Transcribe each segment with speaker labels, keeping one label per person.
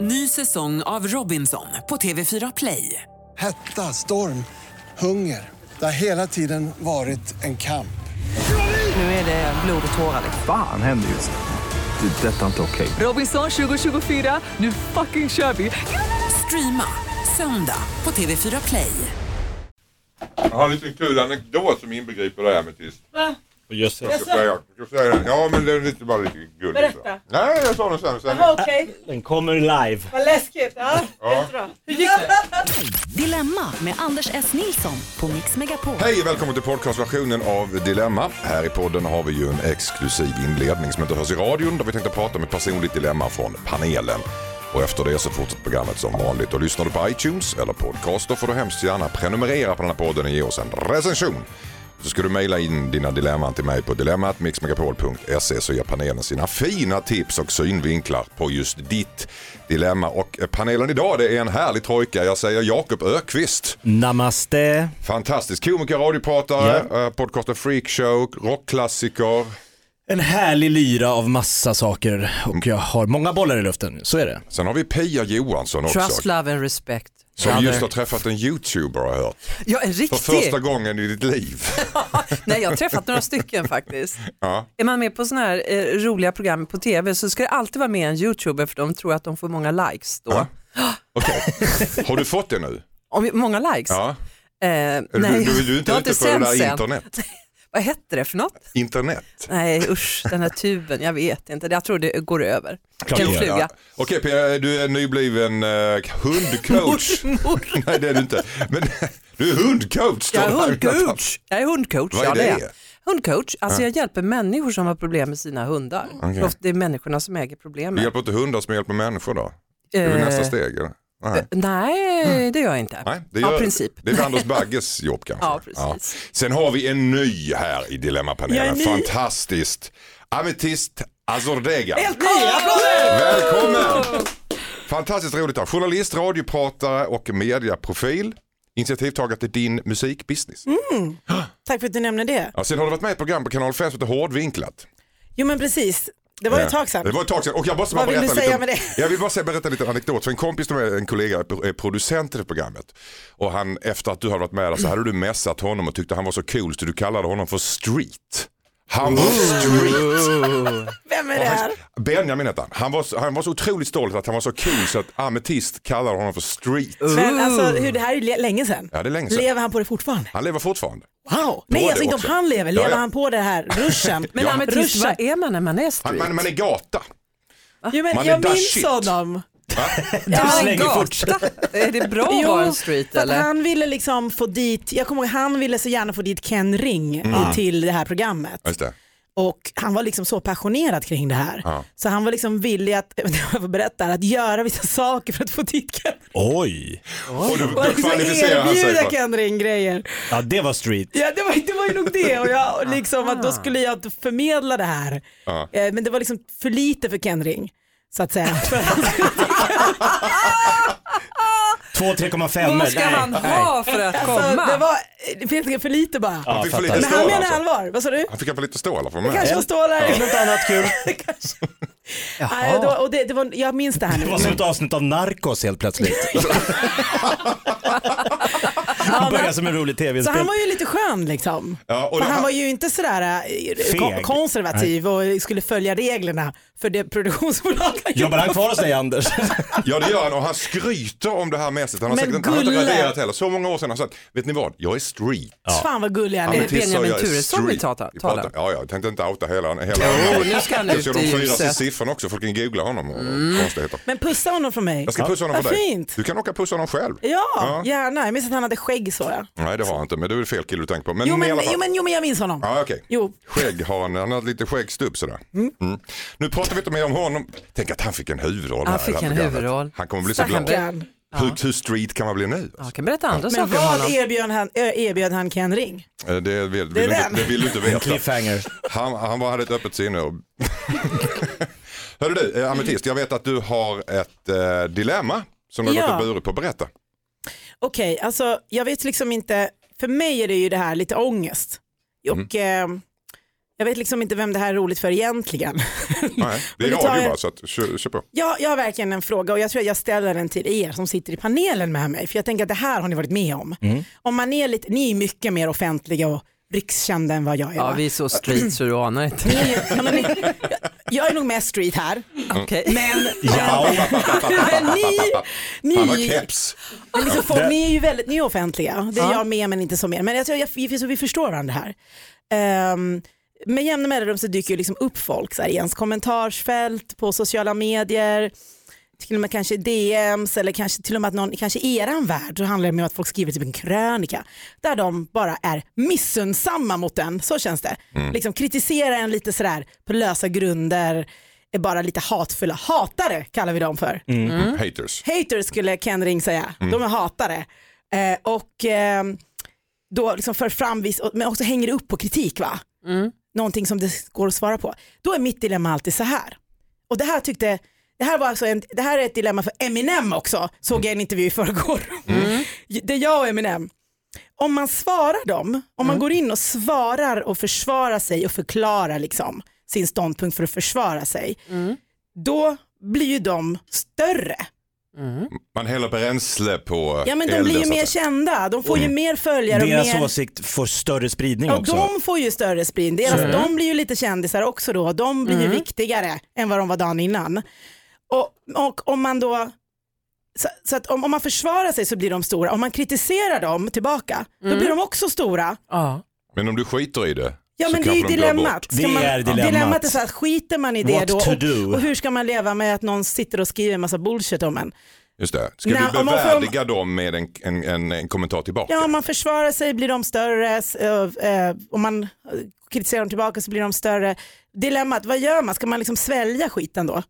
Speaker 1: Ny säsong av Robinson på TV4 Play.
Speaker 2: Hetta, storm, hunger. Det har hela tiden varit en kamp.
Speaker 1: Nu är det blod och tårar. liksom.
Speaker 3: Fan händer just nu. Det. är Detta är inte okej.
Speaker 1: Robinson 2024, nu fucking kör vi! Streama söndag på TV4 Play.
Speaker 4: Jag har en liten kul anekdot som inbegriper det här med tyst.
Speaker 5: Just
Speaker 4: Jag ska säga, jag ska säga den. Ja men det är lite, bara lite gulligt.
Speaker 6: Berätta.
Speaker 4: Så. Nej jag sa den sen. sen.
Speaker 6: Jaha, Okej,
Speaker 5: Den kommer live.
Speaker 6: vad läskigt. Ja, jättebra.
Speaker 7: Dilemma med Anders S. Nilsson på Mix Megapol.
Speaker 4: Hej välkommen till podcastversionen av Dilemma. Här i podden har vi ju en exklusiv inledning som inte hörs i radion där vi tänkte prata om ett personligt dilemma från panelen. Och efter det så fortsätter programmet som vanligt. Och lyssnar du på iTunes eller podcaster får du hemskt gärna prenumerera på den här podden och ge oss en recension. Så ska du mejla in dina dilemman till mig på dilemmatmixmegapol.se så ger panelen sina fina tips och synvinklar på just ditt dilemma. Och eh, panelen idag det är en härlig trojka. Jag säger Jakob Ökvist.
Speaker 5: Namaste.
Speaker 4: Fantastisk komiker, radiopratare, yeah. podcasten Freakshow, rockklassiker.
Speaker 5: En härlig lyra av massa saker och jag har många bollar i luften, så är det.
Speaker 4: Sen har vi Pia Johansson också.
Speaker 8: Trust, love and respect.
Speaker 4: som
Speaker 8: Brother.
Speaker 4: just har träffat en youtuber har jag hört.
Speaker 8: Ja, en
Speaker 4: För
Speaker 8: riktig.
Speaker 4: första gången i ditt liv.
Speaker 8: Nej, jag har träffat några stycken faktiskt.
Speaker 4: Ja.
Speaker 8: Är man med på sådana här eh, roliga program på tv så ska det alltid vara med en youtuber för de tror att de får många likes då.
Speaker 4: Ja. Okej. Har du fått det nu?
Speaker 8: Om, många likes?
Speaker 4: Ja.
Speaker 8: Eh,
Speaker 4: Du,
Speaker 8: nej,
Speaker 4: du, du är
Speaker 8: jag
Speaker 4: inte
Speaker 8: har
Speaker 4: ute för det
Speaker 8: sänt
Speaker 4: där
Speaker 8: sen.
Speaker 4: internet.
Speaker 8: Vad hette det för något?
Speaker 4: Internet.
Speaker 8: Nej usch, den här tuben, jag vet inte. Jag tror det går över.
Speaker 5: Klart
Speaker 8: en
Speaker 5: det gör.
Speaker 8: fluga.
Speaker 4: Okej Pia, du är nybliven eh, hundcoach.
Speaker 8: Mormor.
Speaker 4: Nej det är du inte. Men du är hundcoach.
Speaker 8: Jag är hundcoach. Jag är hundcoach.
Speaker 4: Vad är
Speaker 8: ja,
Speaker 4: det?
Speaker 8: är jag. Hundcoach, alltså jag hjälper människor som har problem med sina hundar. För ofta Det är människorna som äger
Speaker 4: Du
Speaker 8: problemet.
Speaker 4: hjälper inte hundar som hjälper människor då? Det är väl
Speaker 8: Eh.
Speaker 4: nästa steg? Eller? Nej.
Speaker 8: Nej, det gör jag inte.
Speaker 4: Mm. Nej, det
Speaker 8: Av
Speaker 4: gör,
Speaker 8: princip.
Speaker 4: Det är väl Anders Bagges jobb kanske.
Speaker 8: Ja, precis.
Speaker 4: Sen har vi en ny här i Dilemmapanelen.
Speaker 8: Jag är ny.
Speaker 4: Fantastiskt. Ametist Azordega.
Speaker 8: Nej, applåder!
Speaker 4: Välkommen! Fantastiskt roligt att ha. Journalist, radiopratare och mediaprofil. Initiativtagare till din musikbusiness.
Speaker 9: Mm. Tack för att du nämner det.
Speaker 4: Ja, sen har du varit med i ett program på Kanal 5 som heter Hårdvinklat.
Speaker 9: Jo men precis, det var ju ett tag sedan.
Speaker 4: Det var ett tag sedan. Och jag måste bara
Speaker 9: Vad vill du
Speaker 4: berätta lite,
Speaker 9: säga med det?
Speaker 4: Jag vill bara säga- berätta lite anekdot. För en kompis som är en kollega är pro- är producent i det programmet. Och han, efter att du hade varit med där så hade du messat honom och tyckte han var så cool så du kallade honom för street. Han var
Speaker 9: Mm.
Speaker 4: street.
Speaker 9: Vem är det här?
Speaker 4: Benjamin hette han. Han var, så- han var så otroligt stolt att han var så cool så att Ametist kallade honom för street.
Speaker 9: Men alltså, hur, det här är ju le- länge sedan.
Speaker 4: Ja, det är länge sedan.
Speaker 9: Lever han på det fortfarande?
Speaker 4: Han lever fortfarande.
Speaker 9: Wow! Nej,
Speaker 4: det
Speaker 9: alltså inte om
Speaker 4: också.
Speaker 9: han lever.
Speaker 4: Ja,
Speaker 9: Lever
Speaker 4: ja.
Speaker 9: han på det här ruschen?
Speaker 8: Men
Speaker 4: Ja.
Speaker 8: ametist,
Speaker 9: Ruschen.
Speaker 8: vad är man när man är street?
Speaker 4: Han, man, man är gata.
Speaker 9: Jo, men
Speaker 4: Man är
Speaker 9: jag
Speaker 4: that
Speaker 9: minns
Speaker 4: shit.
Speaker 9: honom.
Speaker 4: Va?
Speaker 8: Ja,
Speaker 5: Du
Speaker 8: men
Speaker 5: slänger
Speaker 8: gata.
Speaker 5: fort.
Speaker 8: Är det bra att vara en street
Speaker 9: för att
Speaker 8: eller?
Speaker 9: han ville liksom få dit, jag kommer ihåg han ville så gärna få dit Ken Ring i- till det här programmet.
Speaker 4: Mm. Just det.
Speaker 9: Och han var liksom så passionerad kring det här.
Speaker 4: Ja.
Speaker 9: Så han var liksom villig att, jag får berätta, att göra vissa saker för att få dit Ken
Speaker 5: Oj.
Speaker 4: Och då, då
Speaker 9: Och liksom
Speaker 4: kvalificerar han sig.
Speaker 9: erbjuda
Speaker 4: För,
Speaker 9: Ken Ring grejer.
Speaker 5: Ja, det var street.
Speaker 9: Ja det var, det var ju nog det och jag,
Speaker 4: Ah.
Speaker 9: liksom, att då skulle jag inte förmedla det här.
Speaker 4: Ja.
Speaker 9: Eh, Men det var liksom för lite för Kenring. Så att säga. För han skulle-
Speaker 5: 2 3,5.
Speaker 8: Vad ska han ha för att komma?
Speaker 9: det var eh, helt enkelt för lite bara.
Speaker 5: Ja,
Speaker 4: fick för
Speaker 5: fattar.
Speaker 4: lite
Speaker 9: Men han
Speaker 4: stål,
Speaker 9: menar
Speaker 4: Ah. alltså.
Speaker 9: allvar, vad sa du?
Speaker 4: han fick han för lite stål för mig.
Speaker 9: Kanske stålar.
Speaker 5: Något annat kul.
Speaker 9: Nej, då- och det, det var, jag minns det här nu.
Speaker 5: Det var som ett avsnitt av Narcos helt plötsligt. Han började som en rolig
Speaker 9: Så han
Speaker 5: tv-inspelning.
Speaker 9: var ju lite skön liksom.
Speaker 4: Ja, och
Speaker 9: För
Speaker 4: då-
Speaker 9: han var ju inte sådär eh, kon-
Speaker 5: Feg.
Speaker 9: konservativ och skulle följa reglerna för det produktionsbolag han
Speaker 5: Jobbar han
Speaker 9: jobbade
Speaker 5: kvar hos dig Anders?
Speaker 4: Ja det gör han och han skryter om det här mässet. Han har
Speaker 9: Men
Speaker 4: säkert inte, han har inte
Speaker 9: Gulle.
Speaker 4: raderat heller. Så många år sedan har han sagt, vet ni vad, jag är street.
Speaker 9: Fan vad gullig han
Speaker 4: Ja,
Speaker 9: är.
Speaker 4: men tills så
Speaker 8: Benjamin
Speaker 4: jag är
Speaker 8: Turesson vi
Speaker 4: street.
Speaker 8: talar-
Speaker 4: Vi pratar-
Speaker 8: talar.
Speaker 4: Ja, ja, jag tänkte inte outa hela hela.
Speaker 8: Jo, nu ska han
Speaker 4: jag
Speaker 8: ut
Speaker 4: ser
Speaker 8: i
Speaker 4: de fyra
Speaker 8: ljuset.
Speaker 4: sista siffrorna också, folk kan googla honom och konstigheter.
Speaker 9: Men pussa honom från mig.
Speaker 4: Jag ska pussa honom för
Speaker 9: Vad
Speaker 4: dig.
Speaker 9: fint.
Speaker 4: Du kan åka och pussa honom själv.
Speaker 9: Ja,
Speaker 4: Ja.
Speaker 9: gärna. Jag minns att han hade skägg så ja.
Speaker 4: Nej det har han inte, men du är fel kille du tänker på. Men,
Speaker 9: Jo men,
Speaker 4: i alla fall.
Speaker 9: jo, men, jo, men jag minns honom.
Speaker 4: Ja, okej.
Speaker 9: Jo.
Speaker 4: Skägg har han, han har lite skäggstubb sådär. Mm. Nu pratar vi inte mer om honom. Tänk att han fick en huvudroll
Speaker 8: Han
Speaker 4: här. i
Speaker 8: fick
Speaker 4: det här
Speaker 8: en
Speaker 4: programmet.
Speaker 8: huvudroll.
Speaker 4: Han kommer bli så glad.
Speaker 9: Stackarn.
Speaker 4: Hur, hur street kan man bli nu?
Speaker 8: Jag kan berätta andra
Speaker 9: Men
Speaker 8: saker om
Speaker 9: vad
Speaker 8: honom.
Speaker 9: erbjöd han, ö, erbjöd han Ken Ring?
Speaker 4: Eh, Det vill, vill, du, inte-
Speaker 9: den.
Speaker 4: det vill du inte
Speaker 5: En
Speaker 4: veta.
Speaker 5: cliffhanger.
Speaker 4: Han, han var, hade ett öppet sinne. Och... Hörru du,
Speaker 9: Mm.
Speaker 4: eh, Ametist, jag vet att du har ett eh, dilemma som du har
Speaker 9: Ja.
Speaker 4: gått och burit på. Berätta.
Speaker 9: Okej, alltså
Speaker 4: Mm.
Speaker 9: jag vet liksom inte. För mig är det ju det här lite ångest. Och eh, Jag vet liksom inte vem det här är roligt för egentligen.
Speaker 4: Nej, det är
Speaker 9: Men vi tar
Speaker 4: radio
Speaker 9: en-
Speaker 4: bara, så att, kör, kör på.
Speaker 9: Jag, jag har verkligen en fråga och jag tror att jag ställer den till er som sitter i panelen med mig. För jag tänker att det här har ni varit med om.
Speaker 4: Mm.
Speaker 9: Om man är lite, ni är mycket mer offentliga och rikskända än vad jag är.
Speaker 10: Ja,
Speaker 9: va?
Speaker 10: vi är så street så du anar inte.
Speaker 9: Ni är ju- ja, men ni, jag, jag är nog mest street här.
Speaker 10: Okej.
Speaker 9: Men,
Speaker 5: Ja.
Speaker 9: men ni,
Speaker 4: Han har
Speaker 9: ni,
Speaker 4: keps.
Speaker 9: men liksom, folk,
Speaker 5: Det-
Speaker 9: ni är ju väldigt ni är offentliga. Det är
Speaker 10: Ja.
Speaker 9: jag med men inte som er. Men jag tror jag, vi, vi förstår varandra här. Um, med jämna mellanrum så dyker ju liksom upp folk så här, i ens kommentarsfält, på sociala medier, till och med kanske DMs eller kanske till och med att någon, kanske i eran värld så handlar det om att folk skriver typ en krönika där de bara är missunnsamma mot en, så känns det. Liksom kritiserar en lite sådär på lösa grunder, är bara lite hatfulla. Hatare kallar vi dem för.
Speaker 4: Haters.
Speaker 9: Haters skulle Ken Ring säga. De är hatare. Eh, och eh, då liksom för fram, viss, men också hänger det upp på kritik va? Någonting som det går att svara på. Då är mitt dilemma alltid så här. Och det här tyckte, det här, var alltså en, det här är ett dilemma för Eminem också, såg jag i en intervju i förrgår. Det är jag och Eminem. Om man svarar dem, om man går in och svarar och försvarar sig och förklarar liksom sin ståndpunkt för att försvara sig, då blir ju de större.
Speaker 4: Man häller bränsle på
Speaker 9: Ja men de
Speaker 4: elden,
Speaker 9: blir ju
Speaker 4: så att
Speaker 9: mer
Speaker 4: säga.
Speaker 9: kända, de får ju mer följare och
Speaker 5: Mm. Deras
Speaker 9: mer...
Speaker 5: åsikt får större spridning
Speaker 9: Ja,
Speaker 5: också. Mm.
Speaker 9: de får ju större sprin. Deras, De blir ju lite kändisar också då. De blir ju viktigare än vad de var dagen innan. Och, och om man då... Så, så att om, om man försvarar sig så blir de stora. Om man kritiserar dem tillbaka, då
Speaker 5: Mm.
Speaker 9: blir de också stora.
Speaker 10: Ja.
Speaker 4: Men om du skiter i det
Speaker 9: Ja
Speaker 4: så
Speaker 9: men det är
Speaker 4: kanske
Speaker 9: ju
Speaker 4: de glömmer
Speaker 9: dilemmat.
Speaker 4: bort.
Speaker 9: Ska
Speaker 5: Det
Speaker 9: man,
Speaker 5: är dilemmat.
Speaker 9: dilemmat är så att skiter man i det
Speaker 5: What
Speaker 9: då
Speaker 5: to
Speaker 9: och,
Speaker 5: do?
Speaker 9: och hur ska man leva med att någon sitter och skriver en massa bullshit om en?
Speaker 4: Just det. Ska
Speaker 9: Nej,
Speaker 4: vi
Speaker 9: om man får-
Speaker 4: bevärdiga dem med en, en, en, en kommentar tillbaka?
Speaker 9: Ja, om man försvarar sig blir de större, s- eh, eh, om man eh, kritiserar dem tillbaka så blir de större. Dilemmat, vad gör man? Ska man liksom svälja skiten då?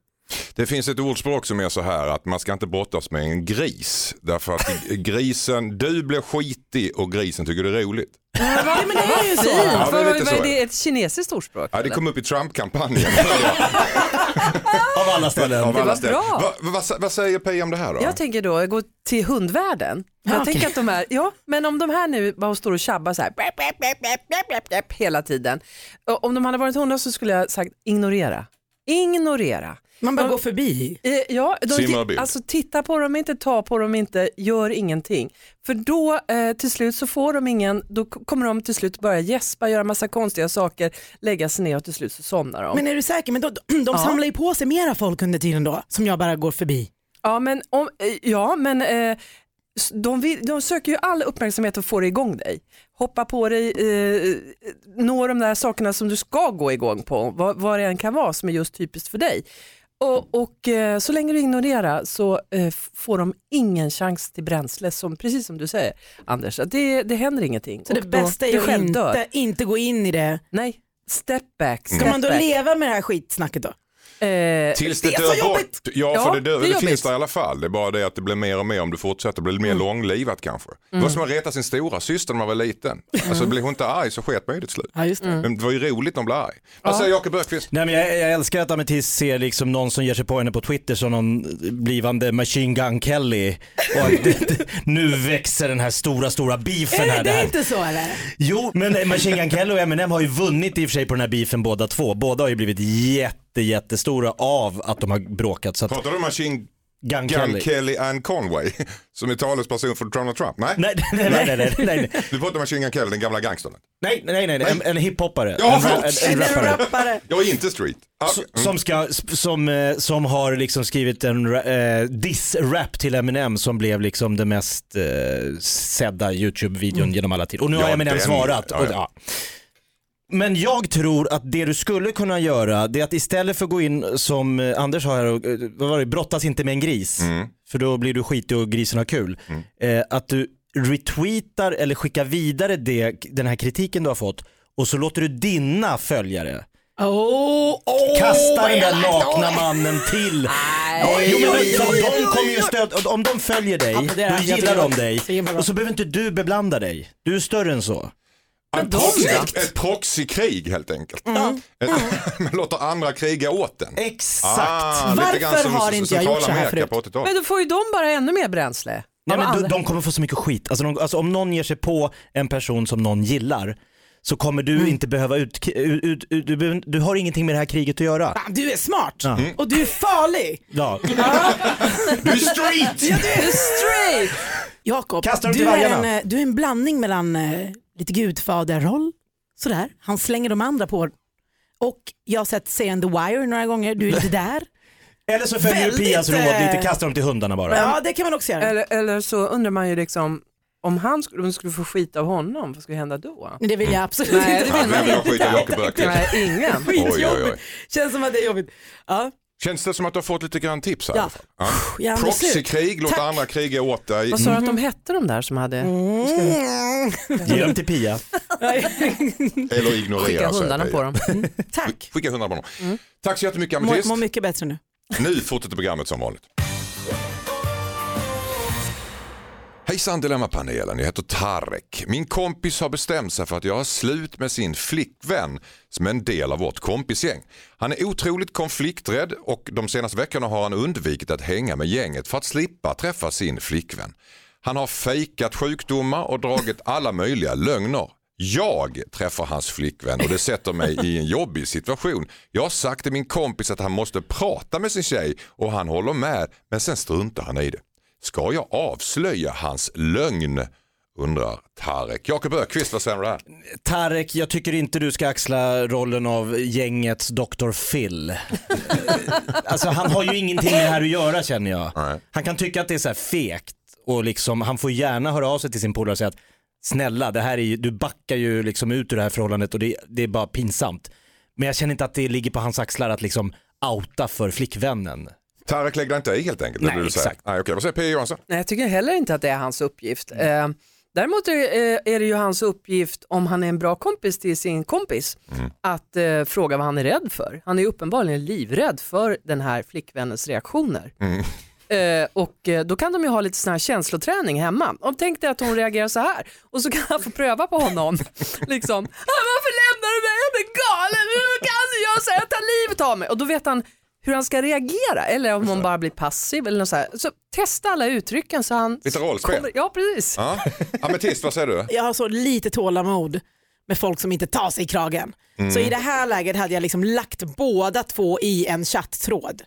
Speaker 4: Det finns ett ordspråk som är så här att man ska inte brottas med en gris. Därför att grisen, du blir skitig och grisen tycker det är roligt.
Speaker 9: Ja, men det är ju så.
Speaker 4: Ja,
Speaker 10: Fint!
Speaker 4: det är
Speaker 10: Vad
Speaker 4: lite
Speaker 10: vad
Speaker 4: så.
Speaker 10: är det? Ett kinesiskt ordspråk?
Speaker 4: Ja, det
Speaker 10: eller?
Speaker 4: kom upp i Trump-kampanjen.
Speaker 5: Av alla ställen.
Speaker 4: Av alla
Speaker 10: var
Speaker 4: ställen.
Speaker 10: bra.
Speaker 4: Vad- vad sa- vad säger Pia om det här då?
Speaker 10: Jag tänker då gå till hundvärlden. Jag
Speaker 9: Ja, Ah, okej.
Speaker 10: tänker att de här, ja, men om de här nu bara står och tjabbar så här bläpp, bläpp, bläpp, bläpp, bläpp, bläpp, bläpp, hela tiden. Och Om de hade varit hundar så skulle jag sagt ignorera. Ignorera.
Speaker 9: Man bara går förbi.
Speaker 10: Eh, Ja, de,
Speaker 4: Simma
Speaker 10: ti-
Speaker 4: bild.
Speaker 10: alltså titta på dem inte, ta på dem inte, gör ingenting. För då eh, till slut så får de ingen, då k- kommer de till slut börja gäspa, göra massa konstiga saker, lägga sig ner och till slut så somnar de.
Speaker 9: Men är du säker? Men då, de samlar ju på sig mera folk under tiden då, som jag bara går förbi.
Speaker 10: Ja men, om, eh, ja, men eh, s- de, vill, de söker ju all uppmärksamhet och får igång dig. Hoppa på dig, eh, nå de där sakerna som du ska gå igång på, vad, vad det än kan vara som är just typiskt för dig. Och, och eh, så länge du ignorerar så eh, f- får de ingen chans till bränsle, som, precis som du säger Anders, att det, det händer ingenting.
Speaker 9: Så det
Speaker 10: Och då-
Speaker 9: bästa
Speaker 10: du
Speaker 9: är att
Speaker 10: själv dör.
Speaker 9: inte, inte gå in i det.
Speaker 10: Nej, step back. Step
Speaker 9: Ska man då
Speaker 10: back.
Speaker 9: leva med det här skitsnacket då?
Speaker 10: Eh,
Speaker 4: Tills
Speaker 9: Det
Speaker 4: det
Speaker 9: är så
Speaker 4: dör bort.
Speaker 9: jobbigt.
Speaker 4: Ja,
Speaker 10: Ja,
Speaker 4: för det, dör, det,
Speaker 10: det är
Speaker 4: finns
Speaker 10: jobbigt.
Speaker 4: där i alla fall. Det är bara det att det blir mer och mer om du fortsätter. Det blir
Speaker 9: Mm.
Speaker 4: mer långlivat kanske. Det var som att reta sin stora syster när man var liten. Alltså blev hon inte arg så sket man ju det till slut.
Speaker 9: Mm. Ja, just det.
Speaker 4: Men det var ju roligt när hon blev arg. Vad säger Jakob Öqvist?
Speaker 5: Nej, men jag, jag älskar att Ametist ser liksom någon som ger sig på henne på Twitter som någon blivande Machine Gun Kelly. Och att det, det, nu växer den här stora, stora beefen
Speaker 9: Är
Speaker 5: här. det
Speaker 9: det, det är
Speaker 5: här.
Speaker 9: inte så eller?
Speaker 5: Jo, men Machine Gun Kelly och Eminem har ju vunnit i och för sig på den här beefen båda två. Båda har ju blivit jätte, jättestora av att de har bråkat. Så att
Speaker 4: Pratar du om Machine
Speaker 5: Gun
Speaker 4: Gun
Speaker 5: Kelly.
Speaker 4: Kelly and Conway som är talesperson för Donald Trump? Nej,
Speaker 5: Nej, nej, nej, nej, nej, nej,
Speaker 4: du pratar om Machine Gun Kelly, den gamla gangstern.
Speaker 5: nej, nej, nej, nej. En, en hiphoppare.
Speaker 4: Ja,
Speaker 5: en, ra-
Speaker 4: förlåt.
Speaker 5: en, en rappare.
Speaker 9: Rappare.
Speaker 4: Jag är inte street. Ah,
Speaker 5: S- Som, ska, s- som, eh, som har liksom skrivit en ra- eh, diss-rap till Eminem som blev liksom den mest eh, sedda YouTube-videon genom alla tider. Och nu
Speaker 4: Mm. Ja,
Speaker 5: har Eminem
Speaker 4: den-
Speaker 5: svarat.
Speaker 4: ja,
Speaker 5: och,
Speaker 4: ja.
Speaker 5: ja. Men jag tror att det du skulle kunna göra det är att istället för att gå in som eh, Anders har här, och, eh, vad var det, brottas inte med en gris.
Speaker 4: Mm.
Speaker 5: För då blir du skitig och grisen har kul. Eh, att du retweetar eller skickar vidare det, den här kritiken du har fått och så låter du dina följare
Speaker 9: Oh, oh,
Speaker 5: Kasta
Speaker 9: vad
Speaker 5: den där
Speaker 9: elakt.
Speaker 5: nakna mannen till. Jo, men liksom, de kommer ju stöd, om- om de följer dig,
Speaker 9: Ja, det är-
Speaker 5: då
Speaker 9: jag
Speaker 5: gillar
Speaker 9: tycker
Speaker 5: de
Speaker 9: det är
Speaker 5: dig.
Speaker 9: så himla bra.
Speaker 5: Och så behöver inte du beblanda dig. Du är större än så.
Speaker 4: Ett, proxy, ett proxykrig helt enkelt. Ett, man låter andra kriga åt den. Ah,
Speaker 5: Exakt.
Speaker 4: lite grann
Speaker 9: Varför har inte jag gjort så här
Speaker 4: Centralamerika
Speaker 9: förut?
Speaker 4: på 80-talet.
Speaker 10: Men då får ju de bara ännu mer bränsle.
Speaker 5: Nej, men
Speaker 10: Av
Speaker 5: de,
Speaker 10: andra.
Speaker 5: de kommer få så mycket skit. Alltså, de, alltså, om någon ger sig på en person som någon gillar så kommer
Speaker 9: Mm.
Speaker 5: du inte behöva ut, ut, ut, ut du, behöver- du har ingenting med det här kriget att göra.
Speaker 9: Fan, du är smart
Speaker 5: Ja.
Speaker 9: och du är farlig.
Speaker 5: Ja.
Speaker 4: Du är street!
Speaker 8: Straight!
Speaker 9: Jakob,
Speaker 5: Kastar dem till
Speaker 9: du, är en,
Speaker 5: vargarna.
Speaker 9: eh, du är en blandning mellan eh, lite gudfaderroll, sådär. Han slänger de andra på. Och jag har sett serien The Wire några gånger, du är lite där.
Speaker 5: Eller så följer du
Speaker 9: Väldigt,
Speaker 5: Pias råd lite,
Speaker 9: eh,
Speaker 5: kasta dem till hundarna bara.
Speaker 9: Ja, det kan man också göra.
Speaker 10: Eller, eller så undrar man ju liksom, om han skulle, om de skulle få skit av honom, vad skulle hända då?
Speaker 9: Men Mm. det vill jag absolut
Speaker 10: Nej, det
Speaker 9: inte.
Speaker 4: Nej, vem vill ha skit av Jakob Öqvist?
Speaker 10: Nej, ingen.
Speaker 4: Oj, oj, oj.
Speaker 9: Skitjobbigt. Känns som att det är jobbigt. Ja,
Speaker 4: Känns det som att du har fått lite grann tips här? i
Speaker 9: Ja.
Speaker 4: alla fall? Ja.
Speaker 9: jag är slut.
Speaker 4: Proxykrig, låt
Speaker 9: Tack.
Speaker 4: andra kriga åt dig.
Speaker 10: Vad sa du att de hette de där som hade?
Speaker 5: Ge dem till Pia.
Speaker 4: Eller ignorera.
Speaker 10: Skicka
Speaker 5: alltså
Speaker 4: säger
Speaker 10: hundarna
Speaker 4: jag.
Speaker 10: på dem.
Speaker 9: Mm.
Speaker 10: Mm.
Speaker 9: Tack.
Speaker 4: Skicka hundarna på dem. Tack så jättemycket
Speaker 9: Mår
Speaker 4: Ametist.
Speaker 9: mår mycket bättre nu.
Speaker 4: Nu fortsätter programmet som vanligt. Hejsan Dilemmapanelen, jag heter Tarek. Min kompis har bestämt sig för att göra slut med sin flickvän som är en del av vårt kompisgäng. Han är otroligt konflikträdd och de senaste veckorna har han undvikit att hänga med gänget för att slippa träffa sin flickvän. Han har fejkat sjukdomar och dragit alla möjliga lögner. Jag träffar hans flickvän och det sätter mig i en jobbig situation. Jag har sagt till min kompis att han måste prata med sin tjej och han håller med men sen struntar han i det. Ska jag avslöja hans lögn? Undrar Tarek. Jakob Ökvist, vad säger du om det här?
Speaker 5: Tarek, jag tycker inte du ska axla rollen av gängets Dr. Phil. Eh, alltså han har ju ingenting med det här att göra känner jag.
Speaker 4: Nej.
Speaker 5: Han kan tycka att det är så här fegt och liksom, han får gärna höra av sig till sin polare och säga att snälla, det här är ju, du backar ju liksom ut ur det här förhållandet och det, det är bara pinsamt. Men jag känner inte att det ligger på hans axlar att liksom outa för flickvännen.
Speaker 4: Tarek lägger inte i helt enkelt. det
Speaker 5: Nej,
Speaker 4: vill du säga.
Speaker 5: exakt.
Speaker 4: Nej, okej. Vad säger P.E. Johansson?
Speaker 10: Nej, jag tycker heller inte att det är hans uppgift. Eh,
Speaker 5: Mm.
Speaker 10: däremot är, eh, är det ju hans uppgift, om han är en bra kompis till sin kompis,
Speaker 5: Mm.
Speaker 10: att eh, fråga vad han är rädd för. Han är ju uppenbarligen livrädd för den här flickvännens reaktioner. Eh, och eh, då kan de ju ha lite sån här känsloträning hemma. Om tänk dig att hon reagerar så här och så kan han få pröva på honom. liksom, "Ah, varför lämnar du mig? Jag blir galen, hur kan du göra så här? Jag tar livet av mig. Och då vet han hur han ska reagera eller om hon bara blir passiv eller något så här. Så testa alla uttrycken så han...
Speaker 4: Lite rollspel.
Speaker 10: kommer- Ja, precis.
Speaker 4: Ja. Ametist, vad säger du?
Speaker 9: Jag har så lite tålamod med folk som inte tar sig i kragen. Så
Speaker 5: Mm.
Speaker 9: i det här läget hade jag liksom lagt båda två i en chatttråd.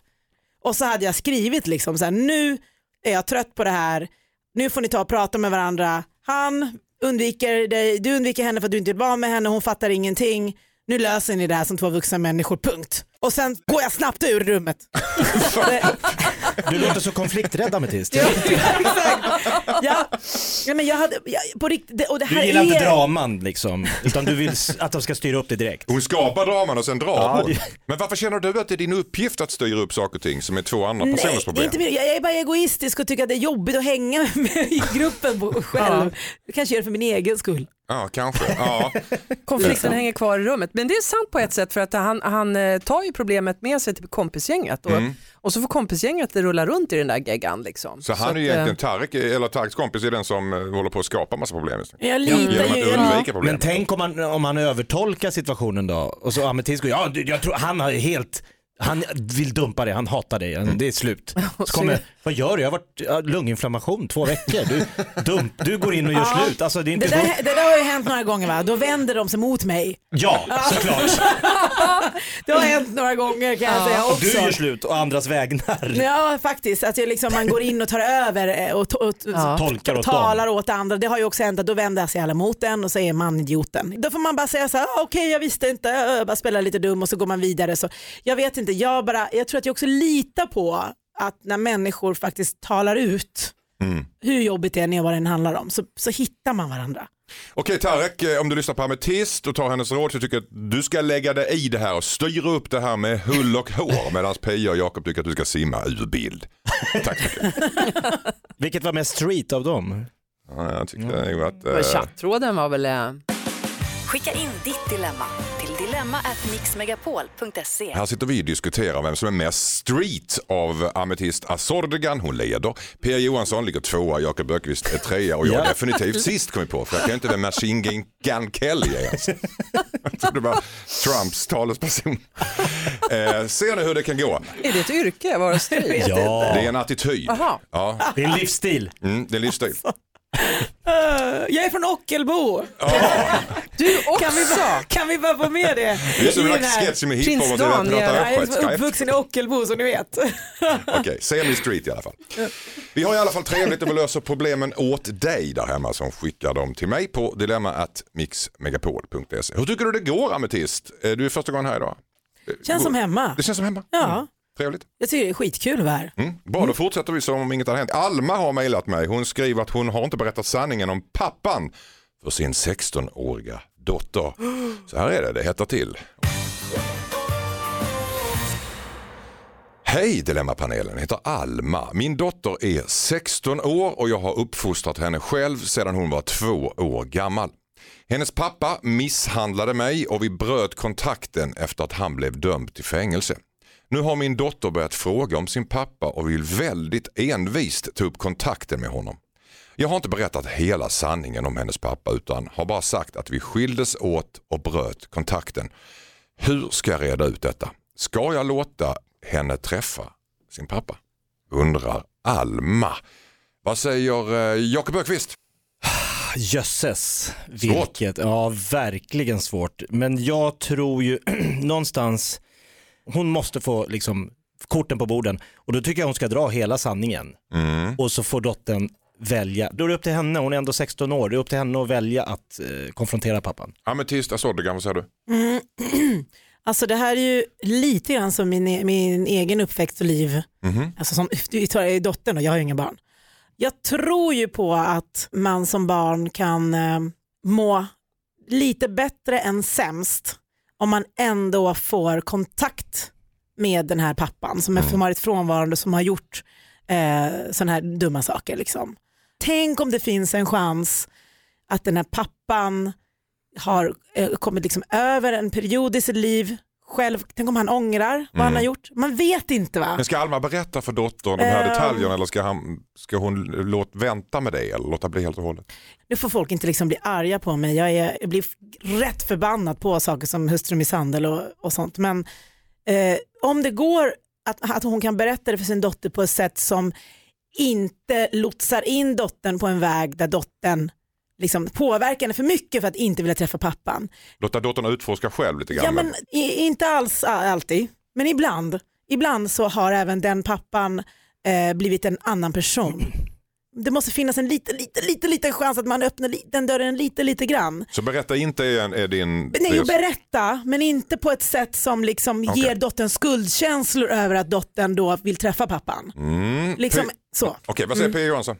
Speaker 9: Och så hade jag skrivit liksom så här, nu är jag trött på det här, nu får ni ta och prata med varandra. Han undviker dig, du undviker henne för att du inte vill vara med henne, hon fattar ingenting. Nu löser ni det här som två vuxna människor, punkt. Och sen går jag snabbt ur rummet.
Speaker 5: Du låter så konflikträdd Ametist.
Speaker 9: ja. Ja, men jag hade, jag, på riktigt, det, och det här
Speaker 5: Du gillar
Speaker 9: är...
Speaker 5: inte draman liksom, utan du vill s- att de ska styra upp det direkt.
Speaker 4: Hon skapar draman och sen drar
Speaker 5: Ja,
Speaker 4: hon.
Speaker 5: det-
Speaker 4: Men varför känner du att det är din uppgift att styra upp saker och ting som är två andra
Speaker 9: Nej,
Speaker 4: personers
Speaker 9: det är
Speaker 4: problem?
Speaker 9: inte min, jag är bara egoistisk och tycker att det är jobbigt att hänga med i gruppen på- själv. Jag kanske gör det för min egen skull.
Speaker 4: Ja, kanske. Ja.
Speaker 10: Konflikten hänger kvar i rummet. Men det är sant på ett sätt för att han, han eh, tar ju problemet med sig till kompisgänget och, och så får kompisgänget rulla runt i den där geggan. Liksom.
Speaker 4: Mm. Så han är ju
Speaker 10: att, eh,
Speaker 4: egentligen Tarek, eller Tareks kompis är den som eh, håller på att skapa massa problem. just nu.
Speaker 9: Jag litar
Speaker 4: Genom att
Speaker 9: ju...
Speaker 4: undvika
Speaker 5: Men
Speaker 4: problem.
Speaker 5: tänk om han, om han övertolkar situationen då och så Ametist går, ja du, jag tror han har helt, han vill dumpa dig, han hatar dig, han- det är slut. Så kommer, vad gör du? Jag har varit ja, lunginflammation två veckor, du, dump, du går in och gör slut. Alltså, det är inte
Speaker 9: Det där, det där har ju hänt några gånger va? Då vänder de sig mot mig.
Speaker 5: Ja, såklart.
Speaker 9: Det har hänt några gånger kan jag säga
Speaker 5: Och du gör
Speaker 9: också.
Speaker 5: slut och andras vägnar.
Speaker 9: Ja faktiskt, att jag liksom, man går in och tar över eh, och, to- och
Speaker 5: Tolkar åt
Speaker 9: talar
Speaker 5: dem.
Speaker 9: åt andra. Det har ju också hänt att då vänder sig alla mot en och så är man idioten. Då får man bara säga så här, "Ah, okej jag visste inte, jag eh, bara spelar lite dum och så går man vidare. Så jag vet inte, jag, bara, jag tror att jag också litar på att när människor faktiskt talar ut
Speaker 4: Mm.
Speaker 9: hur jobbigt det än är och vad den handlar om så, så hittar man varandra.
Speaker 4: Okej Tarek, eh, om du lyssnar på Ametist och tar hennes råd så tycker jag att du ska lägga dig i det här och styra upp det här med hull och hår medan Pia och Jakob tycker att du ska simma ur bild. Tack så mycket.
Speaker 5: Vilket var mest street av dem?
Speaker 4: Ja, jag tyckte nog att...
Speaker 10: men
Speaker 4: Eh,
Speaker 10: Chattråden var väl... eh,
Speaker 7: Skicka in ditt dilemma till dilemma@mixmegapol.se.
Speaker 4: här sitter vi och diskuterar vem som är mest street av Ametist Azordegan. Hon leder. Pia Johansson ligger tvåa, Jakob Ökvist är trea och jag är
Speaker 5: Ja.
Speaker 4: definitivt sist kom vi på för jag kan inte vem Machine Gun- Gun Kelly är ens. Jag trodde det var Trumps talesperson. Eh, ser ni hur det kan gå?
Speaker 10: Är det ett yrke? Var det strid?
Speaker 5: Ja,
Speaker 4: Det är en attityd.
Speaker 10: Jaha.
Speaker 4: Ja,
Speaker 5: det är en livsstil.
Speaker 9: Alltså,
Speaker 4: Mm, det är livsstil.
Speaker 9: Eh, jag är från Ockelbo.
Speaker 10: Du också!
Speaker 9: Kan vi, bara, kan vi bara få med det?
Speaker 4: Det är som
Speaker 9: i
Speaker 4: en
Speaker 9: den
Speaker 4: slags
Speaker 9: här-
Speaker 4: sketch med
Speaker 10: Prins
Speaker 4: hiphop och pratar
Speaker 10: Dan, ja.
Speaker 9: Jag
Speaker 4: östgötska
Speaker 9: är
Speaker 4: efter.
Speaker 9: uppvuxen i Ockelbo så ni vet.
Speaker 4: Okej, semi street i alla fall. Vi har i alla fall trevligt och vi löser problemen åt dig där hemma som skickar dem till mig på dilemma.mixmegapol.se. Hur tycker du det går Ametist? Eh, Du är första gången här idag.
Speaker 9: Känns som hemma.
Speaker 4: Det känns som hemma. Mm.
Speaker 9: Ja,
Speaker 4: Trevligt.
Speaker 9: jag tycker det är skitkul att vara här.
Speaker 4: Mm. Bra, då fortsätter vi som om inget har hänt. Alma har mejlat mig. Hon skriver att hon har inte berättat sanningen om pappan för sin 16-åriga dotter. Så här är det, det hettar till. Hej Dilemmapanelen, jag heter Alma. Min dotter är 16 år och jag har uppfostrat henne själv sedan hon var två år gammal. Hennes pappa misshandlade mig och vi bröt kontakten efter att han blev dömd till fängelse. Nu har min dotter börjat fråga om sin pappa och vill väldigt envist ta upp kontakten med honom. Jag har inte berättat hela sanningen om hennes pappa utan har bara sagt att vi skildes åt och bröt kontakten. Hur ska jag reda ut detta? Ska jag låta henne träffa sin pappa? Undrar Alma. Vad säger eh, Jakob Ökvist?
Speaker 5: Jösses, vilket, ja verkligen svårt. Men jag tror ju någonstans, hon måste få liksom korten på borden och då tycker jag hon ska dra hela sanningen och så får dottern välja. Då är det upp till henne, hon är ändå 16 år, det är upp till henne att välja att eh, konfrontera pappan.
Speaker 4: Ametist Asodegam, vad säger du?
Speaker 9: Mm. Alltså det här är ju lite grann som min, e- min egen uppväxt och liv. Alltså som, vi tar ju dottern och jag har ju inga barn. Jag tror ju på att man som barn kan eh, må lite bättre än sämst om man ändå får kontakt med den här pappan som är
Speaker 4: Mm.
Speaker 9: som varit frånvarande som har gjort eh, sådana här dumma saker. Liksom. Tänk om det finns en chans att den här pappan har eh, kommit liksom över en period i sitt liv själv. Tänk om han ångrar vad han har gjort. Man vet inte va?
Speaker 4: Mm. Men ska Alma berätta för dottern de här
Speaker 9: Ehm.
Speaker 4: detaljerna eller ska, han, ska hon låt, vänta med det eller låta bli helt och hållet?
Speaker 9: Nu får folk inte liksom bli arga på mig. Jag, är, jag blir f- rätt förbannad på saker som hustrumisshandel och, och sånt. Men eh, om det går att, att hon kan berätta det för sin dotter på ett sätt som inte lotsar in dottern på en väg där dottern liksom påverkar henne för mycket för att inte vilja träffa pappan.
Speaker 4: Låta dottern utforska själv lite grann.
Speaker 9: Ja, men i, inte alls a- alltid, men ibland. Ibland så har även den pappan eh, blivit en annan person. Det måste finnas en liten, liten, liten, liten chans att man öppnar li- den dörren lite, lite grann.
Speaker 4: Så berätta inte är, är din...
Speaker 9: Nej,
Speaker 4: det-
Speaker 9: och berätta, men inte på ett sätt som liksom
Speaker 4: Okej.
Speaker 9: ger dottern skuldkänslor över att dottern då vill träffa pappan.
Speaker 4: Mm.
Speaker 9: Liksom,
Speaker 4: P-
Speaker 9: så.
Speaker 4: Okej, vad säger
Speaker 10: Mm.
Speaker 4: P.E. Johansson?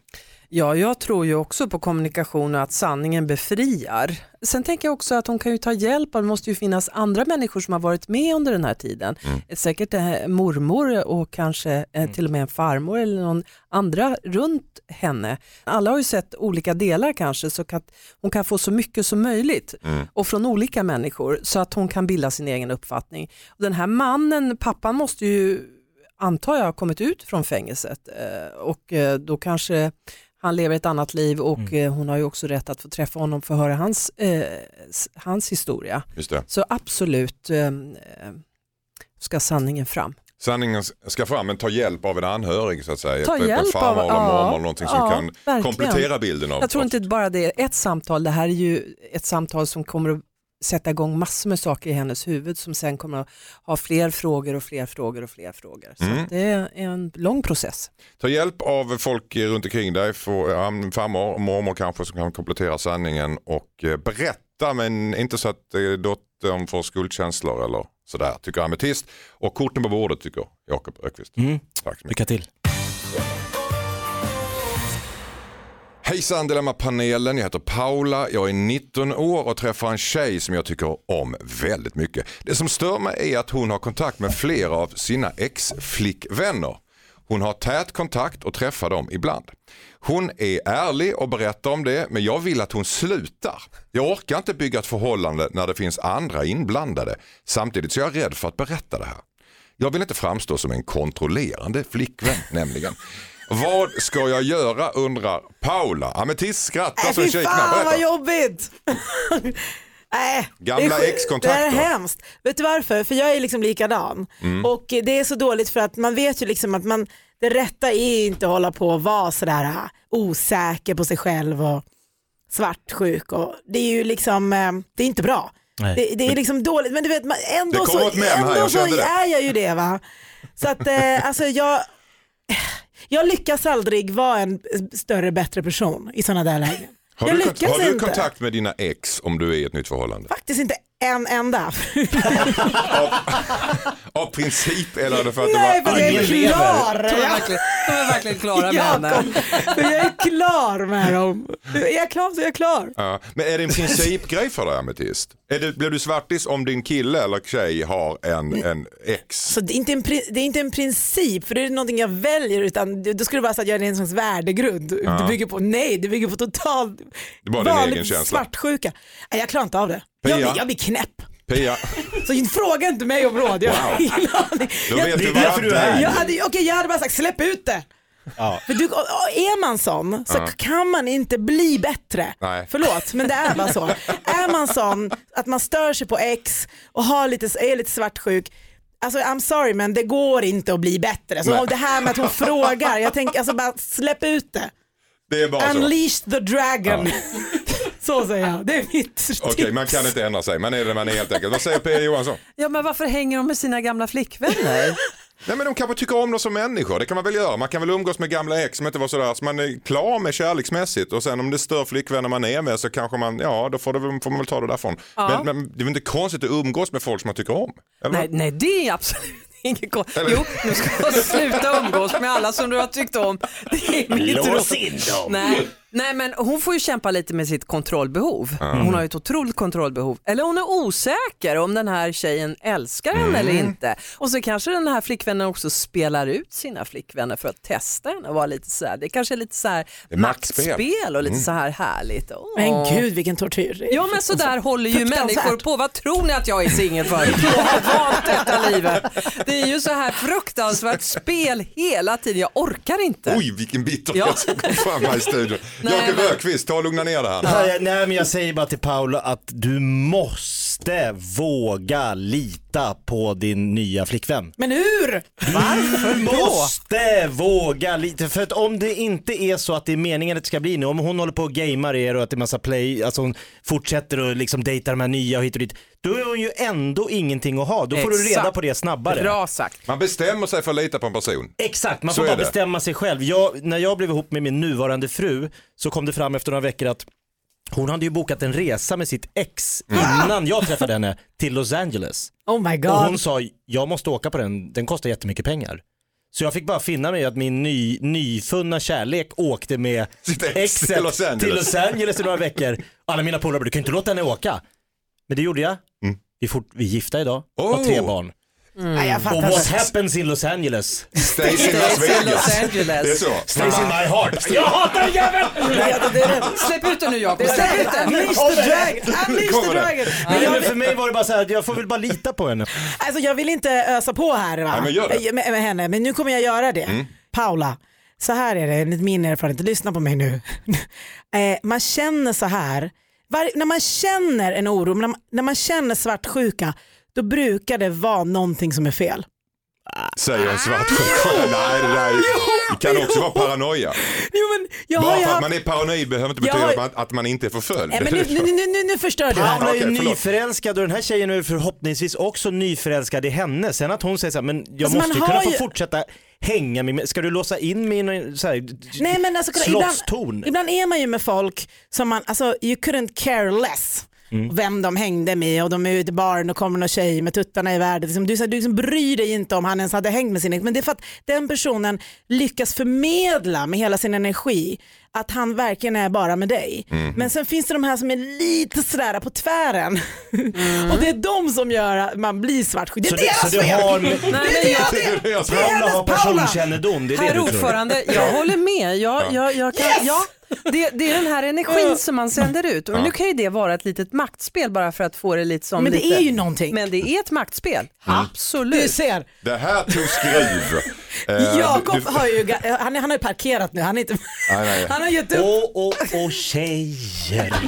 Speaker 10: Ja, jag tror ju också på kommunikation och att sanningen befriar. Sen tänker jag också att hon kan ju ta hjälp och det måste ju finnas andra människor som har varit med under den här tiden. Säkert eh, mormor och kanske eh, till och med en farmor eller någon andra runt henne. Alla har ju sett olika delar kanske så att hon kan få så mycket som möjligt och från olika människor så att hon kan bilda sin egen uppfattning. Den här mannen, pappan måste ju antar jag, kommit ut från fängelset eh, och eh, då kanske han lever ett annat liv och
Speaker 4: Mm.
Speaker 10: eh, hon har ju också rätt att få träffa honom för att höra hans, eh, s- hans historia.
Speaker 4: Just det.
Speaker 10: Så absolut eh, eh, ska sanningen fram.
Speaker 4: Sanningen ska fram, men ta hjälp av en anhörig så att säga.
Speaker 10: Ta
Speaker 4: Typ en
Speaker 10: hjälp av-
Speaker 4: farmor eller
Speaker 10: ja,
Speaker 4: mormor eller någonting som
Speaker 10: ja,
Speaker 4: kan
Speaker 10: verkligen.
Speaker 4: komplettera bilden av
Speaker 10: Jag tror inte bara det är ett samtal, det här är ju ett samtal som kommer att sätta igång massor med saker i hennes huvud som sen kommer att ha fler frågor och fler frågor och fler frågor. Så
Speaker 4: Mm.
Speaker 10: att det är en lång process.
Speaker 4: Ta hjälp av folk runt omkring dig, få- ja, farmor, mormor kanske som kan komplettera sanningen och eh, berätta men inte så att eh, dottern får skuldkänslor eller sådär, tycker Ametist. Och korten på bordet tycker Jakob Ökvist.
Speaker 5: Mm.
Speaker 4: Tack så mycket.
Speaker 5: Lycka till.
Speaker 4: Hejsan Dilemma-panelen, jag heter Paula, jag är 19 år och träffar en tjej som jag tycker om väldigt mycket. Det som stör mig är att hon har kontakt med flera av sina ex-flickvänner. Hon har tät kontakt och träffar dem ibland. Hon är ärlig och berättar om det men jag vill att hon slutar. Jag orkar inte bygga ett förhållande när det finns andra inblandade. Samtidigt så är jag rädd för att berätta det här. Jag vill inte framstå som en kontrollerande flickvän nämligen. Vad ska jag göra undrar Paula. Ametist skrattar
Speaker 9: Nej,
Speaker 4: så en
Speaker 9: Äh, fy
Speaker 4: tjej
Speaker 9: fan
Speaker 4: knappt
Speaker 9: vad
Speaker 4: berättar.
Speaker 9: jobbigt. Nej,
Speaker 4: Gamla
Speaker 9: det är sj-
Speaker 4: ex-kontakter.
Speaker 9: Det är hemskt.
Speaker 4: Mm.
Speaker 9: Vet du varför? För jag är liksom likadan. Och eh, det är så dåligt för att man vet ju liksom att man, Det rätta är inte att hålla på och vara sådär ah, osäker på sig själv och svartsjuk. Och det är ju liksom, eh, det är inte bra.
Speaker 5: Nej.
Speaker 9: Det, det är liksom dåligt, men du vet, man- ändå
Speaker 4: Det
Speaker 9: så,
Speaker 4: kommer ett mem här,
Speaker 9: ändå
Speaker 4: jag
Speaker 9: så
Speaker 4: kände det.
Speaker 9: är jag ju det va. Så att eh, alltså jag, jag lyckas aldrig vara en större, bättre person i sådana där lägen.
Speaker 4: Har,
Speaker 9: jag
Speaker 4: du,
Speaker 9: lyckas
Speaker 4: kont- har du
Speaker 9: inte.
Speaker 4: kontakt med dina ex om du är i ett nytt förhållande?
Speaker 9: Faktiskt inte en enda.
Speaker 4: Av princip eller är det för att
Speaker 9: Nej,
Speaker 4: det
Speaker 9: för
Speaker 4: var
Speaker 9: jag är
Speaker 4: aggressivt?
Speaker 9: klar.
Speaker 8: De är
Speaker 9: Jag-
Speaker 8: verkligen, de är verkligen klara med henne.
Speaker 9: Jakob, för jag är klar med dem. Är jag klar så är jag klar.
Speaker 4: Ja. Men är det en principgrej för dig Ametist? Är det, blir du svartis om din kille eller tjej har en, en ex?
Speaker 9: Så det är, inte en, pri- det är inte en princip, för det är någonting jag väljer, utan det- då skulle det vara så att jag är en slags värdegrund. Det bygger på, nej, det bygger på total
Speaker 4: Det är bara din egen känsla.
Speaker 9: svartsjuka. Nej, jag klarar inte av det. Jag,
Speaker 4: Pia.
Speaker 9: blir- jag blir knäpp.
Speaker 4: Pia,
Speaker 9: Så fråga inte mig om råd, jag har
Speaker 4: Wow.
Speaker 9: ingen aning.
Speaker 4: då
Speaker 9: Jag-
Speaker 4: vet
Speaker 5: det
Speaker 4: du
Speaker 5: är därför
Speaker 4: vad
Speaker 5: du är här.
Speaker 9: jag hade, okej, jag hade bara sagt släpp ut det.
Speaker 5: Ja.
Speaker 9: För du, och- och är man sån så
Speaker 4: Ja.
Speaker 9: kan man inte bli bättre.
Speaker 4: Nej.
Speaker 9: Förlåt, men det är bara så. är man sån att man stör sig på ex och har lite, är lite svartsjuk, Alltså I'm sorry men det går inte att bli bättre. Så
Speaker 4: Nej.
Speaker 9: och det här med att hon frågar, jag tänker alltså bara släpp ut det.
Speaker 4: Det är bara så.
Speaker 9: Unleash the dragon. så säger jag, det är mitt tips.
Speaker 4: Okej, man kan inte ändra sig. Man är det man är helt enkelt. Vad säger Pia Johansson?
Speaker 10: Ja, men varför hänger de med sina gamla flickvänner?
Speaker 4: Nej men de kanske tycker om dem som människor, det kan man väl göra. Man kan väl umgås med gamla ex som inte var sådär, så man är klar med kärleksmässigt och sen om det stör flickvänner man är med så kanske man, ja då får, det, väl- får man väl ta det därifrån. Men, men det är väl inte konstigt att umgås med folk som man tycker om? Eller?
Speaker 10: nej, nej, det är absolut inget gott. Jo, nu ska jag sluta umgås med alla som du har tyckt om. Det är mitt råd.
Speaker 5: Lås in dem!
Speaker 10: Nej. Nej men hon får ju kämpa lite med sitt kontrollbehov. Hon har
Speaker 5: Mm.
Speaker 10: ju ett otroligt kontrollbehov. Eller hon är osäker om den här tjejen älskar henne eller
Speaker 5: Mm.
Speaker 10: inte. Och så kanske den här flickvännen också spelar ut sina flickvänner för att testa henne och vara lite så här. Det kanske är lite så här
Speaker 4: är maktspel.
Speaker 10: och lite
Speaker 5: Mm.
Speaker 10: så här härligt. Åh.
Speaker 9: Men gud vilken tortyr. det är.
Speaker 10: Ja men så där håller ju
Speaker 9: fruktansvärt.
Speaker 10: människor på. Vad tror ni att jag är singel för? Jag har valt detta livet. Det är ju så här fruktansvärt spel hela tiden. Jag orkar inte.
Speaker 4: Oj vilken bitterhet
Speaker 10: Ja.
Speaker 4: som kom fram här i studion.
Speaker 10: Nej,
Speaker 4: Jakob
Speaker 10: men-
Speaker 4: Ökvist, ta och lugna ner det här.
Speaker 5: Nej, jag- nej men jag säger bara till Paula att du måste våga lita på din nya flickvän.
Speaker 9: Men hur?
Speaker 5: Du måste våga lite, för att om det inte är så att det är meningen att det ska bli nu, om hon håller på och gamear er och att det är massa play, alltså hon fortsätter och liksom dejtar de här nya och hit och dit, då är hon ju ändå ingenting att ha. Då får du reda
Speaker 10: Exakt.
Speaker 5: på det snabbare.
Speaker 10: Bra sagt.
Speaker 4: Man bestämmer sig för att lita på en person.
Speaker 5: Exakt, man
Speaker 4: Så
Speaker 5: får
Speaker 4: är
Speaker 5: bara
Speaker 4: det.
Speaker 5: bestämma sig själv. Jag, när jag blev ihop med min nuvarande fru så kom det fram efter några veckor att hon hade ju bokat en resa med sitt ex
Speaker 4: Mm.
Speaker 5: innan jag träffade henne till Los Angeles.
Speaker 9: Oh my
Speaker 5: Och
Speaker 9: god.
Speaker 5: hon sa, jag måste åka på den, den kostar jättemycket pengar. Så jag fick bara finna mig i att min ny, nyfunna kärlek åkte med
Speaker 4: Sitt ex
Speaker 5: exet
Speaker 4: till Los Angeles.
Speaker 5: till Los Angeles i några veckor. Alla mina polare bara, du kan ju inte låta henne åka. Men det gjorde jag. Vi, fort, vi är gifta idag, har
Speaker 4: Mm. Oh.
Speaker 5: tre barn.
Speaker 9: Mm. Nej, jag
Speaker 5: Och
Speaker 9: fattar.
Speaker 5: what happens in Los Angeles?
Speaker 4: Stays in Las
Speaker 10: Till Los
Speaker 4: Vegas. Det är
Speaker 10: Angeles.
Speaker 4: så.
Speaker 5: Stays in my heart. Jag hatar den jäveln!
Speaker 10: Släpp ut den nu Jakob, släpp ut den!
Speaker 9: Unleash the dragon. Unleash the
Speaker 4: Kommer det.
Speaker 9: dragon. Men
Speaker 5: Nej, men
Speaker 9: jag,
Speaker 5: för mig var det bara så här, att jag får väl bara lita på henne.
Speaker 9: alltså jag vill inte ösa på här va?
Speaker 4: Nej, men gör det. Mm.
Speaker 9: Eh, Med, med henne, men nu kommer jag göra det. Paula, så här är det enligt min erfarenhet, lyssna på mig nu. eh, man känner så här, var, när man känner en oro, när man, när man känner svartsjuka, då brukar det vara någonting som är fel.
Speaker 4: Säger en svartsjuk själ. Nej det där är- det kan också vara paranoia.
Speaker 9: Jo, men jag har
Speaker 4: Bara
Speaker 9: ju
Speaker 4: för att
Speaker 9: haft-
Speaker 4: man är paranoid behöver inte
Speaker 9: Jag
Speaker 4: betyda
Speaker 9: har-
Speaker 4: att man- att man inte är förföljd.
Speaker 9: Nej, men nu, nu, nu, nu, nu förstör du här.
Speaker 5: Paula är ju
Speaker 4: Okej, förlåt.
Speaker 5: nyförälskad och den här tjejen är förhoppningsvis också nyförälskad i henne. Sen att hon säger så här, men jag
Speaker 9: Alltså, man
Speaker 5: måste ju
Speaker 9: har
Speaker 5: kunna få
Speaker 9: ju-
Speaker 5: fortsätta hänga med Ska du låsa in mig i någon så här,
Speaker 9: Nej, men alltså, kolla,
Speaker 5: slottstorn?
Speaker 9: ibland, ibland är man ju med folk som man, alltså you couldn't care less
Speaker 5: Mm.
Speaker 9: vem de hängde med och de är ute i baren och kommer någon tjej med tuttarna i världen. Liksom, du så här, du liksom bryr dig inte om han ens hade hängt med sin ex, men det är för att den personen lyckas förmedla med hela sin energi att han verkligen är bara med dig.
Speaker 5: Mm.
Speaker 9: Men sen finns det de här som är lite sådär på tvären och det är de som gör att man blir svartsjuk. Det är
Speaker 5: Så, det,
Speaker 9: deras
Speaker 5: så det
Speaker 9: fel!
Speaker 5: har med...
Speaker 10: Nej, men jag,
Speaker 4: Det är deras fel.
Speaker 5: Paula har personkännedom, det är det
Speaker 10: herr
Speaker 5: du tror.
Speaker 10: ordförande, jag håller med. Jag, jag, jag kan, ja, det, det är den här energin som man sänder ut. Och nu kan ju det vara ett litet maktspel bara för att få det lite som
Speaker 9: Men det
Speaker 10: lite,
Speaker 9: är ju någonting.
Speaker 10: Men det är ett maktspel,
Speaker 9: Du
Speaker 10: absolut.
Speaker 9: ser.
Speaker 4: Det här tog skruv. Eh,
Speaker 9: Jakob
Speaker 4: du-
Speaker 9: har ju ga- han, är- han har ju parkerat nu, han, är inte,
Speaker 4: nej.
Speaker 9: han har gett upp.
Speaker 5: Åh, åh, åh tjejer.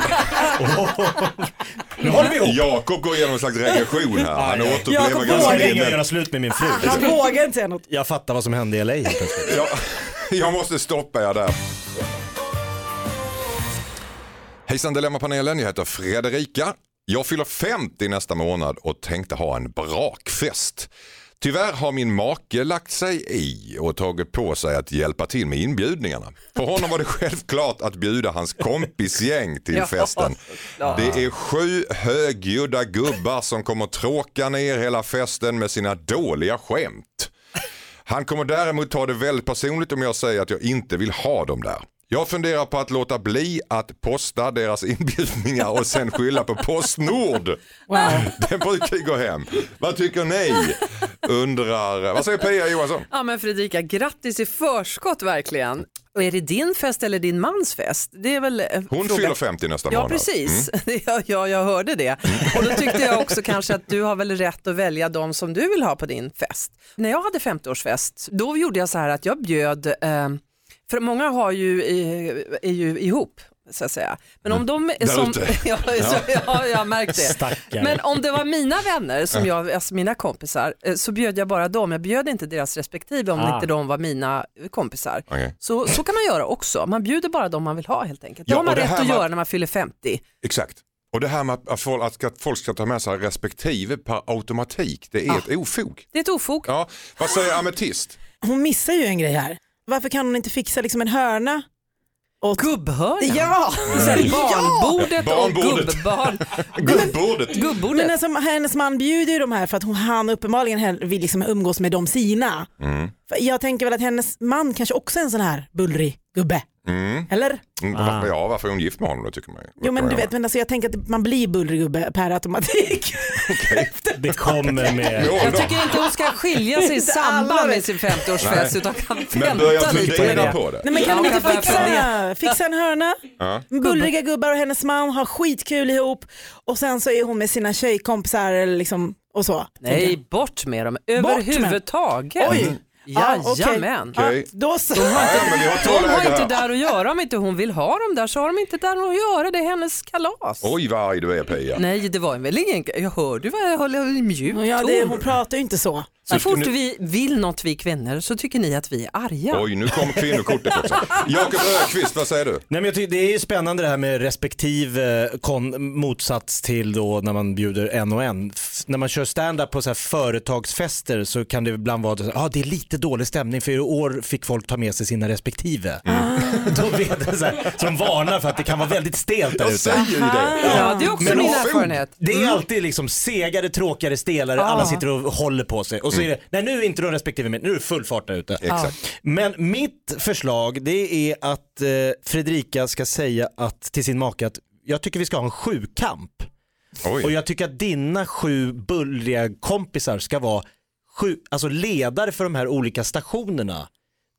Speaker 5: Nu håller vi ihop.
Speaker 4: Jakob går igenom en slags regression här. Han
Speaker 5: Aj, aj.
Speaker 4: återupplever
Speaker 9: Jakob
Speaker 4: gamla
Speaker 9: vågar
Speaker 5: Jag vill
Speaker 4: minnen.
Speaker 5: göra slut med min fru.
Speaker 9: Han vågar inte säga något.
Speaker 5: Jag fattar vad som hände i LA. helt plötsligt.
Speaker 4: Ja, jag måste stoppa er där. Hejsan Dilemmapanelen, jag heter Fredrika. Jag fyller 50 nästa månad och tänkte ha en brakfest. Tyvärr har min make lagt sig i och tagit på sig att hjälpa till med inbjudningarna. För honom var det självklart att bjuda hans kompisgäng till festen. Det är sju högljudda gubbar som kommer tråka ner hela festen med sina dåliga skämt. Han kommer däremot ta det väldigt personligt om jag säger att jag inte vill ha dem där. Jag funderar på att låta bli att posta deras inbjudningar och sen skylla på Postnord. Den brukar ju gå hem. Vad tycker ni? Undrar, vad säger Pia Johansson?
Speaker 10: Ja men Fredrika, grattis i förskott verkligen. Och är det din fest eller din mans fest? Det är väl eh,
Speaker 4: Hon
Speaker 10: frågan.
Speaker 4: fyller 50 nästa
Speaker 10: Ja
Speaker 4: månad. Mm,
Speaker 10: precis, ja, ja, jag hörde det. Och då tyckte jag också kanske att du har väl rätt att välja de som du vill ha på din fest. När jag hade 50-årsfest, då gjorde jag så här att jag bjöd, eh, för många har ju, eh, är ju ihop så att säga. Men om de
Speaker 4: Mm.
Speaker 10: är
Speaker 4: Där
Speaker 10: som,
Speaker 4: ute.
Speaker 10: ja, så, ja, jag har märkt det.
Speaker 5: Stackare.
Speaker 10: Men om det var mina vänner, som jag, alltså mina kompisar, eh, så bjöd jag bara dem. Jag bjöd inte deras respektive om
Speaker 5: Ah.
Speaker 10: inte de var mina eh, kompisar.
Speaker 4: Okej.
Speaker 10: Så, så kan man göra också. Man bjuder bara dem man vill ha helt enkelt. Det
Speaker 4: Ja,
Speaker 10: har man
Speaker 4: och det
Speaker 10: rätt
Speaker 4: här
Speaker 10: att
Speaker 4: var-
Speaker 10: göra när man fyller 50.
Speaker 4: Exakt. Och det här med att- att folk, att- att folk ska ta med sig respektive per automatik, det är
Speaker 9: Ah.
Speaker 4: ett ofog.
Speaker 10: Det är ett ofog.
Speaker 4: Ja, vad säger Ametist?
Speaker 9: Hon missar ju en grej här. Varför kan hon inte fixa liksom en hörna?
Speaker 10: Gubbhörnan.
Speaker 9: Ja!
Speaker 10: Barnbordet och
Speaker 4: Barnbordet.
Speaker 10: gubbbarn.
Speaker 4: Guldbordet.
Speaker 9: Men
Speaker 10: Gubbordet.
Speaker 9: alltså, hennes man bjuder ju de här för att hon, han uppenbarligen hell- vill liksom umgås med de sina. För Jag tänker väl att hennes man kanske också är en sån här bullrig gubbe. Eller?
Speaker 4: Mm, varför- Ja, varför är hon gift med honom då tycker man ju.
Speaker 9: Ah. Jo men du vet, men alltså, jag tänker att man blir bullrig gubbe per automatik.
Speaker 5: Det kommer med...
Speaker 4: Med åldern.
Speaker 10: Eh, Jag tycker inte hon ska skilja sig i
Speaker 9: Inte
Speaker 10: samband
Speaker 9: alla
Speaker 10: med
Speaker 9: vet.
Speaker 10: sin 50-årsfest utan kan
Speaker 4: Men börja
Speaker 10: vänta lite med
Speaker 4: fundera
Speaker 10: det.
Speaker 4: på det.
Speaker 9: Nej men kan
Speaker 10: Ja,
Speaker 9: de inte
Speaker 10: jag börjar
Speaker 9: fixa,
Speaker 10: fundera.
Speaker 9: fixa en hörna?
Speaker 4: Ja.
Speaker 9: Bullriga gubbar och hennes man har skitkul ihop och sen så är hon med sina tjejkompisar eller liksom, och så.
Speaker 10: Nej, bort med dem
Speaker 9: med-
Speaker 10: överhuvudtaget. Mm.
Speaker 9: Oj. Ja, okej.
Speaker 10: Jajamän.
Speaker 4: Okej.
Speaker 9: Ja, då så.
Speaker 4: Ja, men vi har två
Speaker 10: De har
Speaker 4: läger
Speaker 10: inte
Speaker 4: här.
Speaker 10: där att göra. Om inte hon vill ha dem där så har de inte där att göra. Det är hennes kalas.
Speaker 4: Oj vad arg du är Pia.
Speaker 10: Nej, det var väl ingen... Jag hörde vad jag höll i mjuk
Speaker 9: Ja, det, hon
Speaker 10: ton.
Speaker 9: pratar ju inte så.
Speaker 10: Så
Speaker 4: ska
Speaker 10: fort
Speaker 4: ni-
Speaker 10: vi vill något vi kvinnor så tycker ni att vi är arga.
Speaker 4: Oj, nu kom kvinnokortet också. Jakob Ökvist, vad säger du?
Speaker 5: Nej, men jag tycker det är ju spännande det här med respektive kon, motsats till då när man bjuder en och en. F- när man kör stand-up på så här företagsfester så kan det ibland vara att ah, det är lite dålig stämning för i år fick folk ta med sig sina respektive. Då vet jag så här, som varnar för att det kan vara väldigt stelt där ute.
Speaker 4: ju det.
Speaker 10: Ja, det är också
Speaker 5: Men
Speaker 10: min
Speaker 5: ofog.
Speaker 10: erfarenhet. Mm. Ah.
Speaker 5: Det är alltid liksom segare, tråkigare, stelare, alla sitter och håller på sig. Och så är det, nej nu är inte de respektive med, nu är det full fart där ute.
Speaker 10: Ah.
Speaker 4: Exakt.
Speaker 5: Men mitt förslag det är att eh, Fredrika ska säga att, till sin make att jag tycker vi ska ha en sjukamp. Och
Speaker 4: Oj.
Speaker 5: jag tycker att dina sju bullriga kompisar ska vara sju, alltså ledare för de här olika stationerna.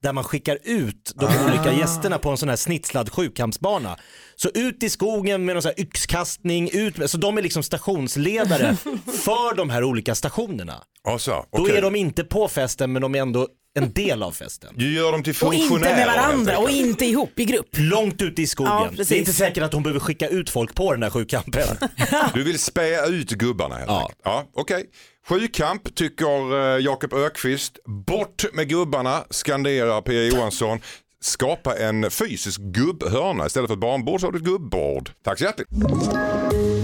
Speaker 5: Där man skickar ut de
Speaker 4: Ah.
Speaker 5: olika gästerna på en sån här snitslad sjukampsbana. Så ut i skogen med någon sån här yxkastning, ut med, så de är liksom stationsledare för de här olika stationerna.
Speaker 4: Ja, så,
Speaker 5: Då
Speaker 4: okej.
Speaker 5: är de inte på festen men de är ändå en del av festen.
Speaker 4: Du gör dem till
Speaker 9: Och
Speaker 4: funktionärer.
Speaker 9: inte med
Speaker 4: helt
Speaker 9: varandra och
Speaker 4: enkelt.
Speaker 9: inte ihop i grupp.
Speaker 5: Långt ute i skogen.
Speaker 9: Ja, precis.
Speaker 5: det är inte säkert att hon behöver skicka ut folk på den där sjukampen.
Speaker 4: Du vill spä ut gubbarna helt
Speaker 5: Ja.
Speaker 4: enkelt. Ja, okej. Sjukamp tycker eh, Jakob Ökvist. Bort med gubbarna, skanderar Pia Johansson. Skapa en fysisk gubbhörna. Istället för ett barnbord så har du ett gubbord. Tack så hjärtligt.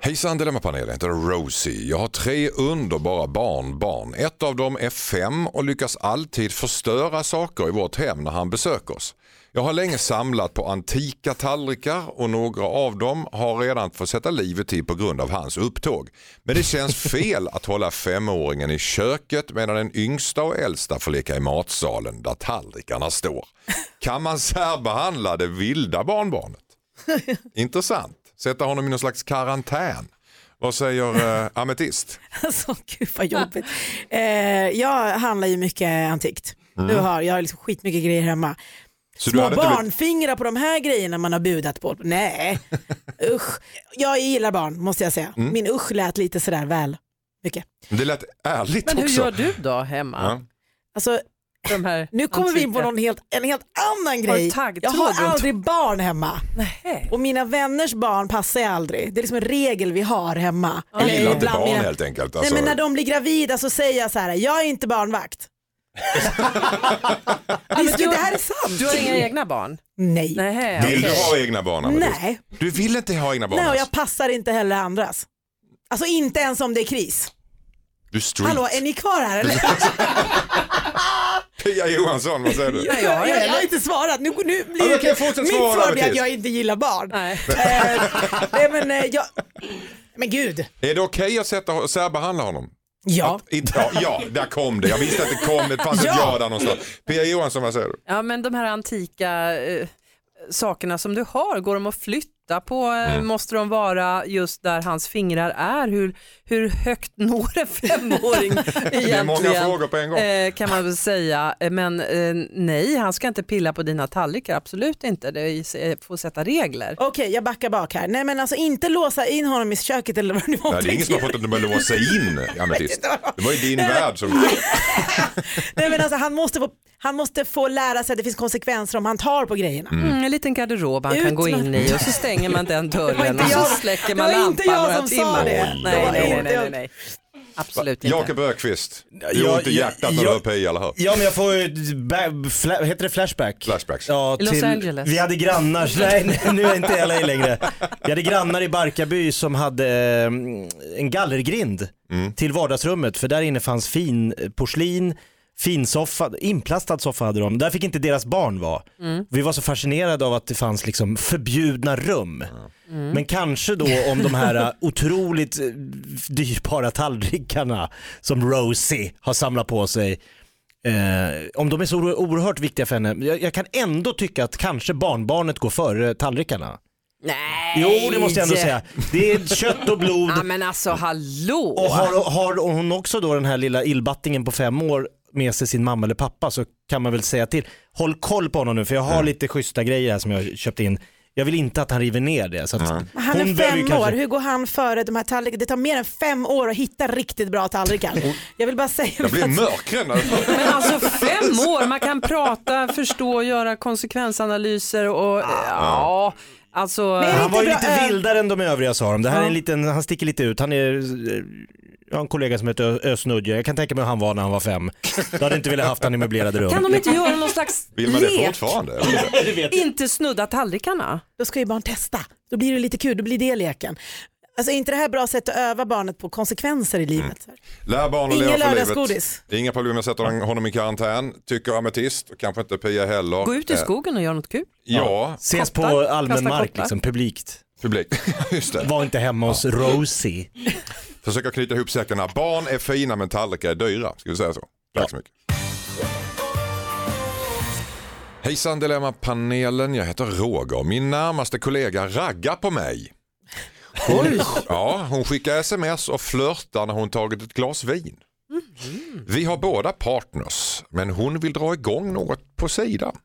Speaker 4: Hejsan Dilemmapanelen, jag heter Rosie. Jag har tre underbara barnbarn. Ett av dem är fem och lyckas alltid förstöra saker i vårt hem när han besöker oss. Jag har länge samlat på antika tallrikar och några av dem har redan fått sätta livet till på grund av hans upptåg. Men det känns fel att hålla femåringen i köket medan den yngsta och äldsta får leka i matsalen där tallrikarna står. Kan man särbehandla det vilda barnbarnet? Intressant. Sätta honom i någon slags karantän. Vad säger eh, Ametist?
Speaker 9: Alltså gud vad jobbigt. Eh, jag handlar ju mycket antikt.
Speaker 4: Mm.
Speaker 9: Nu har jag har liksom skitmycket grejer hemma.
Speaker 4: Så du
Speaker 9: Små
Speaker 4: hade inte blivit-
Speaker 9: barnfingrar på de här grejerna man har budat på. Nej, usch. Jag gillar barn måste jag säga.
Speaker 4: Mm.
Speaker 9: Min usch lät lite sådär väl mycket.
Speaker 4: Det lät ärligt
Speaker 9: Men hur
Speaker 4: också.
Speaker 9: gör du
Speaker 10: då hemma?
Speaker 4: Ja.
Speaker 9: Alltså, nu kommer vi in på
Speaker 10: antika.
Speaker 9: någon helt, en helt annan
Speaker 10: Har du
Speaker 9: grej.
Speaker 10: taggtråd
Speaker 9: Jag har
Speaker 10: runt-
Speaker 9: aldrig barn hemma. Och mina vänners barn passar jag aldrig. Det är liksom en regel vi har hemma.
Speaker 4: Jag gillar inte
Speaker 9: ibland
Speaker 4: barn
Speaker 9: mina-
Speaker 4: helt enkelt. Alltså,
Speaker 9: Nej men när de blir gravida så säger jag så här, jag är inte barnvakt. Visst, det här är sant.
Speaker 10: Du har inga egna barn?
Speaker 9: Nej.
Speaker 10: Nej.
Speaker 4: Vill du ha egna barn Ametist?
Speaker 9: Nej.
Speaker 4: Du vill inte ha egna barn?
Speaker 9: Nej och
Speaker 4: alltså?
Speaker 9: jag passar inte heller andras. Alltså inte ens om det är kris.
Speaker 4: Du är street.
Speaker 9: Hallå är ni kvar här eller?
Speaker 4: Pia Johansson, vad säger du?
Speaker 9: jag, jag, har inte svarat. Nu, nu blir
Speaker 4: Ja, då kan jag fortsätta
Speaker 9: mitt
Speaker 4: svara,
Speaker 9: svar blir att
Speaker 4: Mattias.
Speaker 9: jag inte gillar barn. Nej. nej men eh, jag, men gud.
Speaker 4: Är det okej att sätta, särbehandla honom?
Speaker 9: Ja.
Speaker 4: Att, inte- ja, ja, där kom det. Jag visste att det kom. Det fanns
Speaker 10: Ja.
Speaker 4: ett ja där någonstans. Pia Johansson, vad säger du?
Speaker 10: Ja men de här antika eh, sakerna som du har, går de att flytta på? Eh,
Speaker 4: Mm.
Speaker 10: Måste de vara just där hans fingrar är? Hur, hur högt når en femåring egentligen?
Speaker 4: Det är många frågor på en gång.
Speaker 10: Eh, kan man väl säga. Eh, Men eh, nej, han ska inte pilla på dina tallrikar, absolut inte. Det är- eh, får sätta regler.
Speaker 9: Okej jag backar bak här. Nej men alltså inte låsa in honom i köket eller vad det nu var.
Speaker 4: Nej, det är ingen som har fått att de börjar låsa in Ametist. Det var ju din
Speaker 9: Nej, men-
Speaker 4: värld som...
Speaker 9: Nej men alltså han måste, få, han måste få lära sig att det finns konsekvenser om han tar på grejerna.
Speaker 4: Mm. Mm,
Speaker 10: en liten garderob han kan gå in i och så stänger man den dörren
Speaker 9: inte
Speaker 10: och så
Speaker 9: jag-
Speaker 10: släcker
Speaker 9: det
Speaker 10: man
Speaker 9: var
Speaker 10: lampan
Speaker 9: inte jag
Speaker 10: några
Speaker 9: som sa
Speaker 10: timmar.
Speaker 9: det.
Speaker 10: Nej, nej, nej, nej, nej. Absolut inte.
Speaker 4: Jakob Ökvist, du
Speaker 5: Jag-
Speaker 4: har ont i
Speaker 5: jag-
Speaker 4: hjärtat när du
Speaker 5: jag-
Speaker 4: hör Pia, eller hur?
Speaker 5: Ja men jag får ju, ba- fla- heter det flashback?
Speaker 4: Flashbacks.
Speaker 5: Ja,
Speaker 4: I Los
Speaker 5: till-
Speaker 4: Angeles.
Speaker 5: Vi hade grannar, nej nej, nu är inte LA längre. Vi hade grannar i Barkarby som hade eh, en gallergrind till vardagsrummet för där inne fanns fin porslin, finsoffa, inplastad soffa hade de. Där fick inte deras barn vara.
Speaker 11: Mm.
Speaker 5: Vi var så fascinerade av att det fanns liksom förbjudna rum.
Speaker 11: Mm.
Speaker 5: Men kanske då om de här eh, otroligt eh, dyrbara tallrikarna som Rosie har samlat på sig. Eh, om de är så oro- oerhört viktiga för henne. Jag, jag kan ändå tycka att kanske barnbarnet går före tallrikarna.
Speaker 10: Nej.
Speaker 5: Jo, det måste jag ändå säga. Det är kött och blod.
Speaker 10: Ja, men alltså hallå.
Speaker 5: Och har, har hon också då den här lilla illbattingen på fem år med sig sin mamma eller pappa så kan man väl säga till. Håll koll på honom nu för jag har lite schyssta grejer här som jag köpt in. Jag vill inte att han river ner det. Så att
Speaker 9: Men Han
Speaker 5: hon
Speaker 9: är
Speaker 5: behöver ju
Speaker 9: fem år,
Speaker 5: kanske-
Speaker 9: hur går han före de här tallrikarna? Det tar mer än fem år att hitta riktigt bra tallrikar. Jag vill bara säga
Speaker 4: Jag blir
Speaker 10: Alltså,
Speaker 9: att-
Speaker 4: mörkare nu.
Speaker 10: Men alltså fem år, man kan prata, förstå, göra konsekvensanalyser och eh, ja, alltså.
Speaker 5: Han var ju lite vildare än de övriga sa de. Det här är en liten, han sticker lite ut. Han är, eh, jag har en kollega som heter Ö- Ösnudje. Jag kan tänka mig hur han var när han var fem. Då hade jag inte velat haft han i möblerade rum.
Speaker 10: Kan de inte göra någon slags
Speaker 5: Vill man det
Speaker 10: lek?
Speaker 5: fortfarande,
Speaker 10: Inte snudda tallrikarna.
Speaker 9: Då ska ju barn testa, då blir det lite kul, då blir det leken. Alltså är inte det här bra sätt att öva barnet på konsekvenser i livet?
Speaker 4: Mm. Lär barn att
Speaker 9: Inga
Speaker 4: leva för livet.
Speaker 9: lördagsgodis.
Speaker 4: Det är inga problem med att sätta honom i karantän, tycker Ametist. och Kanske inte Pia heller.
Speaker 10: Gå ut i
Speaker 4: Eh,
Speaker 10: skogen och gör något kul.
Speaker 4: Ja.
Speaker 5: Ses på
Speaker 10: Kottar,
Speaker 5: allmän
Speaker 10: kasta
Speaker 5: mark
Speaker 10: kottar.
Speaker 5: liksom, publikt.
Speaker 4: Publikt, just det.
Speaker 5: Var inte hemma hos Rosie.
Speaker 4: Försöka knyta ihop säckarna. Barn är fina men tallrikar är dyra. Ska vi säga så? Tack så mycket. Hejsan Dilemma-panelen, jag heter Roger. Min närmaste kollega raggar på mig. Hon, ja, hon skickar sms och flörtar när hon tagit ett glas vin. Vi har båda partners, men hon vill dra igång något på sidan.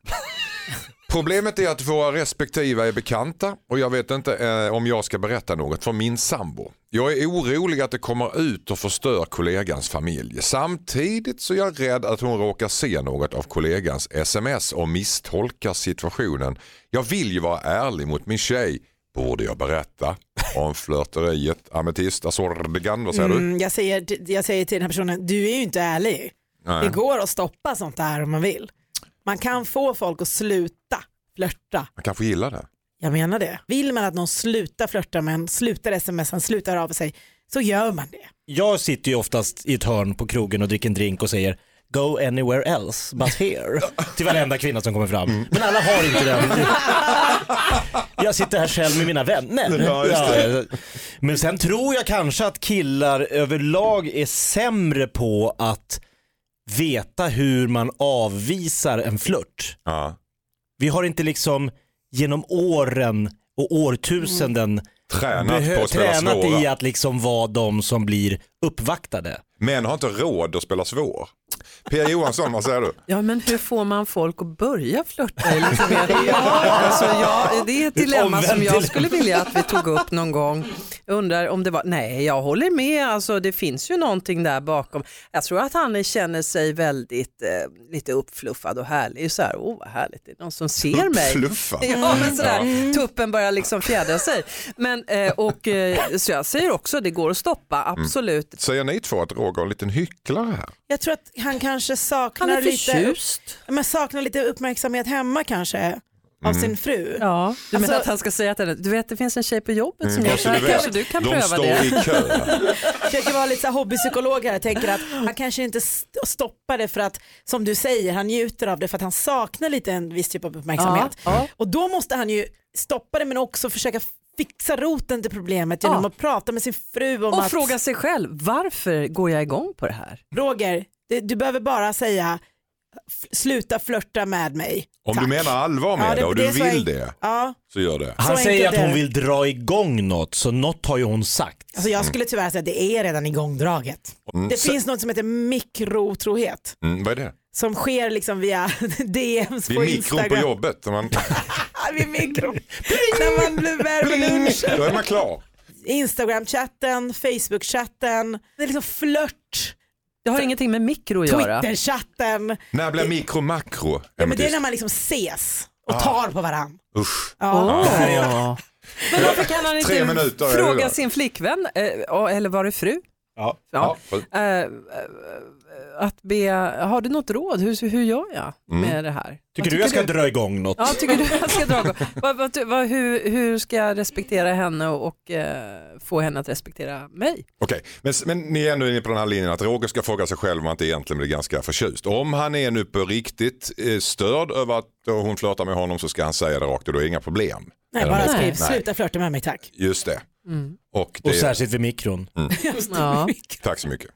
Speaker 4: Problemet är att våra respektiva är bekanta och jag vet inte eh, om jag ska berätta något för min sambo. Jag är orolig att det kommer ut och förstör kollegans familj. Samtidigt så är jag rädd att hon råkar se något av kollegans sms och misstolkar situationen. Jag vill ju vara ärlig mot min tjej. Borde jag berätta om flörteriet? Ametist Azordegan, vad säger du?
Speaker 9: Mm, jag, säger, jag säger till den här personen, du är ju inte ärlig.
Speaker 4: Nej.
Speaker 9: Det går att stoppa sånt där om man vill. Man kan få folk att sluta flörta.
Speaker 4: Man kanske gillar det.
Speaker 9: Jag menar det. Vill man att någon slutar flörta med en, slutar smsa, slutar höra av sig, så gör man det.
Speaker 5: Jag sitter ju oftast i ett hörn på krogen och dricker en drink och säger Go anywhere else but here. Till varenda kvinna som kommer fram. Men alla har inte den. Jag sitter här själv med mina vänner.
Speaker 11: Ja, just det.
Speaker 5: Ja, Men sen tror jag kanske att killar överlag är sämre på att veta hur man avvisar en flört. Vi har inte liksom genom åren och årtusenden
Speaker 4: Tränat
Speaker 5: behö-
Speaker 4: på att spela
Speaker 5: tränat
Speaker 4: svåra.
Speaker 5: i att liksom vara de som blir uppvaktade.
Speaker 4: Men har inte råd att spela svår. Pia Johansson, vad säger du?
Speaker 10: Ja men hur får man folk att börja flörta? i lite mer- Ja, alltså, jag, det är ett
Speaker 1: Ett
Speaker 10: dilemma
Speaker 1: omvänt
Speaker 10: som jag
Speaker 1: dilemma.
Speaker 10: skulle vilja att vi tog upp någon gång. Jag undrar om det var, nej jag håller med, alltså, det finns ju någonting där bakom. Jag tror att han känner sig väldigt eh, lite uppfluffad och härlig. Så här, oh, vad härligt, det är någon som ser mig.
Speaker 4: Uppfluffad?
Speaker 10: Ja, men sådär.
Speaker 4: Mm.
Speaker 10: Tuppen börjar liksom fjädra sig. Men, eh, och, eh, så jag säger också, det går att stoppa, absolut.
Speaker 4: Säger ni två att Roger är en liten hycklare här?
Speaker 9: Jag tror att han kanske saknar
Speaker 10: Han är
Speaker 9: lite,
Speaker 10: förtjust.
Speaker 9: men saknar lite uppmärksamhet hemma kanske av
Speaker 4: Mm.
Speaker 9: sin fru.
Speaker 10: Ja, Du menar att han ska säga till henne, du vet det finns en tjej på jobbet
Speaker 4: Mm,
Speaker 10: som gör
Speaker 4: alltså,
Speaker 10: så här,
Speaker 4: du vet,
Speaker 10: kanske du kan
Speaker 4: de
Speaker 10: pröva
Speaker 4: står
Speaker 10: det.
Speaker 4: i kö.
Speaker 9: försöker vara lite så här hobbypsykolog här och tänker att han kanske inte st- stoppar det för att, som du säger, han njuter av det för att han saknar lite en viss typ av uppmärksamhet.
Speaker 10: Ja, ja.
Speaker 9: Och då måste han ju stoppa det men också försöka fixa roten till problemet genom
Speaker 10: Ja.
Speaker 9: att prata med sin fru om
Speaker 10: Och
Speaker 9: att
Speaker 10: fråga sig själv, varför går jag igång på det här?
Speaker 9: Roger, du, du behöver bara säga "F- sluta flörta med mig.
Speaker 4: Om du menar allvar med
Speaker 9: Ja,
Speaker 4: det,
Speaker 9: det-
Speaker 4: och
Speaker 9: det
Speaker 4: du
Speaker 9: är så
Speaker 4: vill
Speaker 9: en-
Speaker 4: det,
Speaker 9: Ja.
Speaker 4: så gör det.
Speaker 5: Han säger att
Speaker 9: är
Speaker 5: hon
Speaker 9: det.
Speaker 5: vill dra igång något, så något har ju hon sagt.
Speaker 9: Alltså jag skulle tyvärr säga att det är redan igångdraget.
Speaker 4: Mm.
Speaker 9: Det
Speaker 4: Så-
Speaker 9: finns något som heter mikrotrohet
Speaker 4: Mm, vad är det?
Speaker 9: som sker liksom via DMs
Speaker 4: Vid
Speaker 9: på
Speaker 4: mikron
Speaker 9: Instagram.
Speaker 4: på jobbet. när Man,
Speaker 9: Vid mikron. När man blir värd med lunchen.
Speaker 4: då är man klar.
Speaker 9: Instagram-chatten, Facebook-chatten, det är liksom flört.
Speaker 10: Det har ingenting med mikro att göra.
Speaker 9: Twitter-chatten.
Speaker 4: När blir mikro makro?
Speaker 9: Ja, men det är när man liksom ses och
Speaker 4: Ah.
Speaker 9: tar på varandra.
Speaker 4: Usch.
Speaker 9: Ja.
Speaker 4: Ah.
Speaker 9: Där är
Speaker 10: Men varför kan han
Speaker 4: Tre
Speaker 10: inte
Speaker 4: minuter, är det
Speaker 10: fråga
Speaker 4: där.
Speaker 10: sin flickvän, eh, eller var det fru?
Speaker 4: Ja.
Speaker 10: Ja.
Speaker 4: Ja.
Speaker 10: Eh, eh, Att be, har du något råd, hur, hur gör jag med
Speaker 5: Mm.
Speaker 10: det här?
Speaker 5: Tycker
Speaker 10: Vad
Speaker 5: du jag ska dra igång något?
Speaker 10: Ja, tycker du jag ska dra igång? vad, vad, vad, hur, hur ska jag respektera henne och eh, få henne att respektera mig?
Speaker 4: Okej, men, men ni är ändå inne på den här linjen att Roger ska fråga sig själv om han inte egentligen blir ganska förtjust. Om han är nu på riktigt eh, störd över att eh, hon flörtar med honom så ska han säga det rakt och då är det inga problem.
Speaker 9: Nej,
Speaker 4: Eller
Speaker 9: bara
Speaker 4: hur?
Speaker 9: skriv
Speaker 4: Nej,
Speaker 9: sluta flörta med mig tack.
Speaker 4: Just det.
Speaker 9: Mm.
Speaker 4: Och, det
Speaker 5: Och särskilt vid mikron.
Speaker 10: Ja.
Speaker 4: Tack så mycket.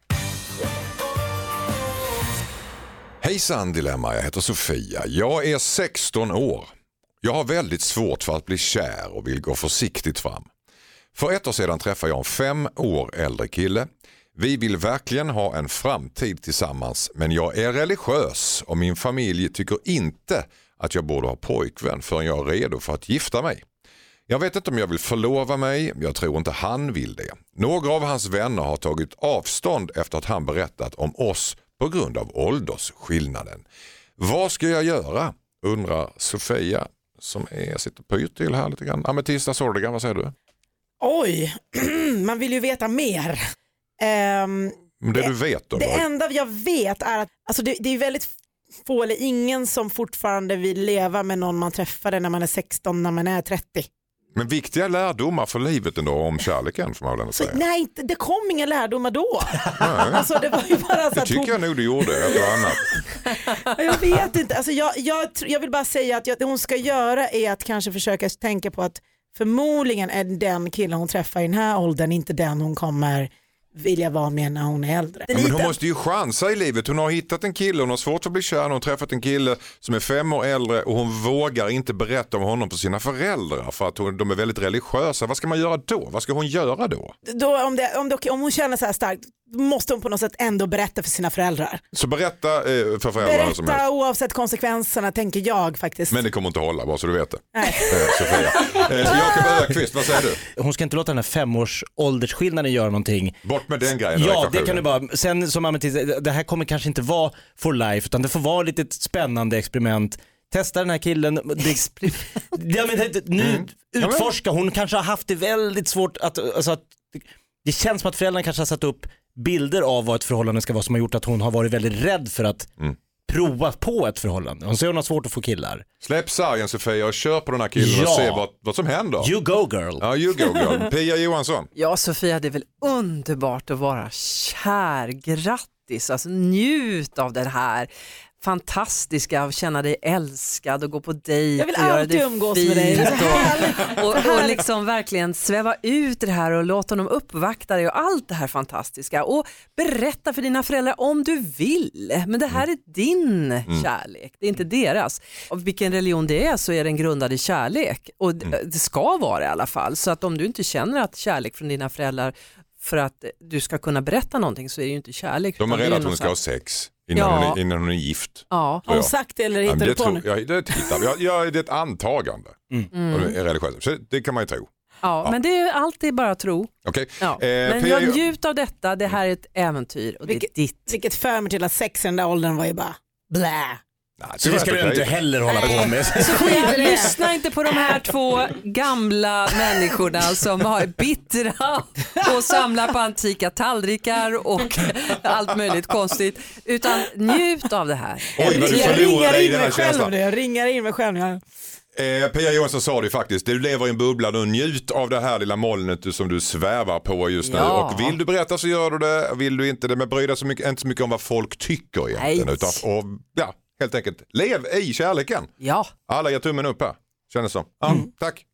Speaker 4: Hejsan Dilemma, jag heter Sofia. Jag är 16 år. Jag har väldigt svårt för att bli kär och vill gå försiktigt fram. För ett år sedan träffade jag en fem år äldre kille. Vi vill verkligen ha en framtid tillsammans men jag är religiös och min familj tycker inte att jag borde ha pojkvän förrän jag är redo för att gifta mig. Jag vet inte om jag vill förlova mig, jag tror inte han vill det. Några av hans vänner har tagit avstånd efter att han berättat om oss på grund av åldersskillnaden. Vad ska jag göra? undrar Sofia som är, sitter och pyr till här lite grann. Ametista Sordigan, vad säger du?
Speaker 9: Oj, man vill ju veta mer. Ehm,
Speaker 4: Men Det, du vet då?
Speaker 9: det
Speaker 4: vad-
Speaker 9: enda jag vet är att alltså det, det är väldigt få eller ingen som fortfarande vill leva med någon man träffade när man är 16 när man är 30.
Speaker 4: Men viktiga lärdomar för livet ändå om kärleken får man väl ändå
Speaker 9: Så,
Speaker 4: säga.
Speaker 9: nej, inte- det kom inga lärdomar då. alltså, det var ju bara så
Speaker 4: Det
Speaker 9: att
Speaker 4: tycker jag nog du gjorde, ett och annat.
Speaker 9: Ja, Jag vet inte, alltså jag, jag, tr- jag vill bara säga att jag, det hon ska göra är att kanske försöka tänka på att förmodligen är den killen hon träffar i den här åldern inte den hon kommer vilja vara med när hon är äldre.
Speaker 4: Ja, men hon måste ju chansa i livet. Hon har hittat en kille, hon har svårt för att bli kär, hon har träffat en kille som är fem år äldre och hon vågar inte berätta om honom för sina föräldrar för att hon, de är väldigt religiösa. Vad ska man göra då? Vad ska hon göra då?
Speaker 9: Då, om, det, om, det, om hon känner så här starkt då måste hon på något sätt ändå berätta för sina föräldrar.
Speaker 4: Så berätta eh, för föräldrarna som helst.
Speaker 9: Berätta oavsett konsekvenserna tänker jag faktiskt.
Speaker 4: Men det kommer inte hålla, bara så du vet det.
Speaker 9: Nej.
Speaker 4: Eh, Sofia. Eh, Jakob Ökvist, vad säger du?
Speaker 5: Hon ska inte låta den här femårs åldersskillnaden göra någonting.
Speaker 4: Bort med den grejen. i
Speaker 5: Ja, det
Speaker 4: ekvationen.
Speaker 5: kan du bara. Sen som Ametist, det här kommer kanske inte vara for life, utan det får vara lite ett spännande experiment. Testa den här killen. Det, ja, men det, nu
Speaker 4: Mm.
Speaker 5: utforska, hon kanske har haft det väldigt svårt att, alltså att, det känns som att föräldrarna kanske har satt upp bilder av vad ett förhållande ska vara som har gjort att hon har varit väldigt rädd för att
Speaker 4: Mm.
Speaker 5: prova på ett förhållande. Hon säger hon har svårt att få killar.
Speaker 4: Släpp sargen Sofia och kör på den här killen och
Speaker 5: Ja.
Speaker 4: se vad, vad som händer.
Speaker 5: You go girl.
Speaker 4: Ja, you go girl. Pia Johansson.
Speaker 10: Ja, Sofia, det är väl underbart att vara kär. Grattis, alltså njut av den här fantastiska, av att känna dig älskad och gå på dejt
Speaker 9: Jag vill
Speaker 10: och göra
Speaker 9: alltid
Speaker 10: det
Speaker 9: umgås
Speaker 10: fint
Speaker 9: med dig. Det är så
Speaker 10: och, och,
Speaker 9: Så
Speaker 10: och
Speaker 9: härligt.
Speaker 10: liksom verkligen sväva ut i det här och låt honom uppvakta dig och allt det här fantastiska och berätta för dina föräldrar om du vill. Men det här är din
Speaker 11: Mm.
Speaker 10: kärlek, det är inte deras. Och vilken religion det är så är den grundad i kärlek och d-
Speaker 4: Mm.
Speaker 10: eh, det ska vara i alla fall. Så att om du inte känner att kärlek från dina föräldrar för att du ska kunna berätta någonting så är det ju inte kärlek.
Speaker 4: De är
Speaker 10: utan det
Speaker 4: rädda
Speaker 10: ju
Speaker 4: att hon
Speaker 10: någon
Speaker 4: ska ha
Speaker 10: slags-
Speaker 4: sex innan,
Speaker 10: Ja.
Speaker 4: hon, är, innan hon är gift.
Speaker 10: Ja.
Speaker 4: tror jag. Nej, men
Speaker 9: du
Speaker 4: det tror jag, det hittar vi. jag, jag, Det är ett antagande.
Speaker 10: Mm.
Speaker 4: Och det Är religiöst. Så det kan man ju tro.
Speaker 10: Ja, men det är alltid bara tro.
Speaker 4: Okej.
Speaker 10: Ja.
Speaker 4: Eh,
Speaker 10: men
Speaker 4: Pia,
Speaker 10: jag
Speaker 4: jag-
Speaker 10: njut av detta, det här är ett äventyr och
Speaker 9: Vilket,
Speaker 10: det är ditt.
Speaker 9: vilket för mig till att sex i den där åldern var ju bara blä.
Speaker 5: Så det ska du inte heller hålla på med.
Speaker 10: Sofia, lyssna inte på de här två gamla människorna som har bittra och samlar på antika tallrikar och allt möjligt konstigt. Utan njut av det här.
Speaker 4: Oj, vad du
Speaker 9: jag
Speaker 4: förlorar
Speaker 9: ringar
Speaker 4: dig i
Speaker 9: in
Speaker 4: den här
Speaker 9: mig själv
Speaker 4: känslan.
Speaker 9: nu, jag ringar in mig själv. Jag...
Speaker 4: Eh, Pia Johansson sa det ju faktiskt, du lever i en bubbla nu, njut av det här lilla molnet du- som du svävar på just nu.
Speaker 10: Ja.
Speaker 4: Och vill du berätta så gör du det, vill du inte det, men bry dig så mycket, inte så mycket om vad folk tycker egentligen.
Speaker 10: Nej.
Speaker 4: Utan, och, ja, helt enkelt, lev i kärleken.
Speaker 10: Ja.
Speaker 4: Alla ger tummen upp här, kändes som. Ja, Tack.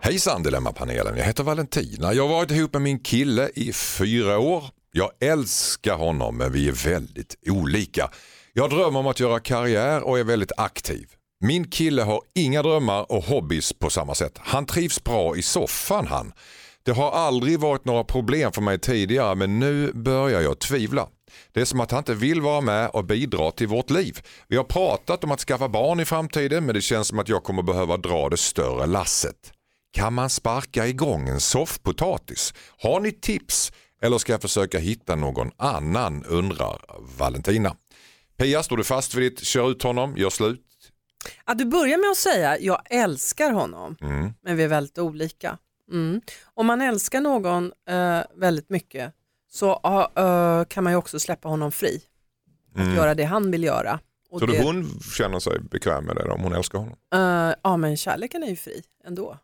Speaker 4: Hejsan Dilemmapanelen, jag heter Valentina. Jag har varit ihop med min kille i fyra år. Jag älskar honom men vi är väldigt olika. Jag drömmer om att göra karriär och är väldigt aktiv. Min kille har inga drömmar och hobbys på samma sätt. Han trivs bra i soffan han. Det har aldrig varit några problem för mig tidigare men nu börjar jag tvivla. Det är som att han inte vill vara med och bidra till vårt liv. Vi har pratat om att skaffa barn i framtiden men det känns som att jag kommer behöva dra det större lasset. Kan man sparka igång en soffpotatis? Har ni tips? Eller ska jag försöka hitta någon annan undrar Valentina. Pia, står du fast vid ditt kör ut honom, gör slut?
Speaker 10: Att du börjar med att säga jag älskar honom,
Speaker 4: Mm.
Speaker 10: men vi är väldigt olika. Mm. Om man älskar någon eh, väldigt mycket så ah, eh, kan man ju också släppa honom fri. Att
Speaker 4: Mm.
Speaker 10: göra det han vill göra. Och
Speaker 4: Tror du
Speaker 10: det-
Speaker 4: hon känner sig bekväm med det då, om hon älskar honom?
Speaker 10: Eh, ja men kärleken är ju fri ändå.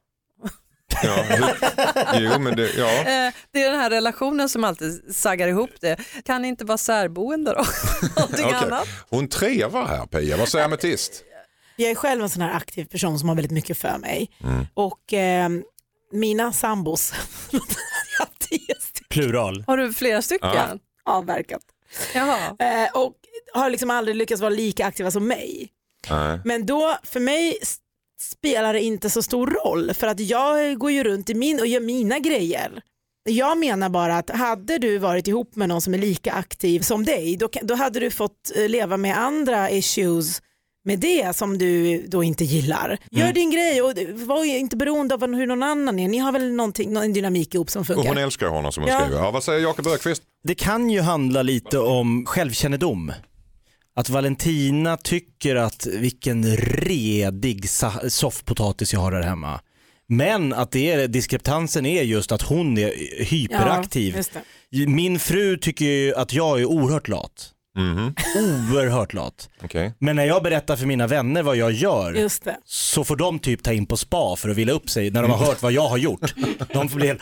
Speaker 4: Ja, hur- jo, men det, ja.
Speaker 10: Eh, det är den här relationen som alltid saggar ihop det. Kan ni inte vara särboende då? Någonting
Speaker 4: Okej.
Speaker 10: annat?
Speaker 4: Hon trevar här Pia, vad säger ametist?
Speaker 9: jag är själv en sån här aktiv person som har väldigt mycket för mig.
Speaker 4: Mm.
Speaker 9: Och eh, mina sambos, jag har tio stycken.
Speaker 5: Plural.
Speaker 10: Har du flera stycken?
Speaker 9: Ja. avverkat. Eh, och har liksom aldrig lyckats vara lika aktiva som mig.
Speaker 4: Nej.
Speaker 9: Men då, för mig s- spelar det inte så stor roll för att jag går ju runt i min och gör mina grejer. Jag menar bara att hade du varit ihop med någon som är lika aktiv som dig, då, kan- då hade du fått eh, leva med andra issues med det som du då inte gillar. Gör
Speaker 4: Mm.
Speaker 9: din grej och eh, var ju inte beroende av hur någon annan är. Ni har väl någonting, någon dynamik ihop som
Speaker 4: Och
Speaker 9: funkar?
Speaker 4: hon älskar honom som hon
Speaker 9: Ja.
Speaker 4: skriver. Ja, vad säger Jakob Ökvist?
Speaker 5: Det kan ju handla lite om självkännedom. Att Valentina tycker att vilken redig sa- soffpotatis jag har här hemma. Men att det är, diskrepansen är just att hon är hyperaktiv.
Speaker 9: Ja, just det.
Speaker 5: Min fru tycker ju att jag är oerhört lat. Oerhört lat.
Speaker 4: Okej.
Speaker 5: Men när jag berättar för mina vänner vad jag gör
Speaker 9: Just det.
Speaker 5: så får de typ ta in på spa för att vila upp sig när de har hört vad jag har gjort. De får bli helt,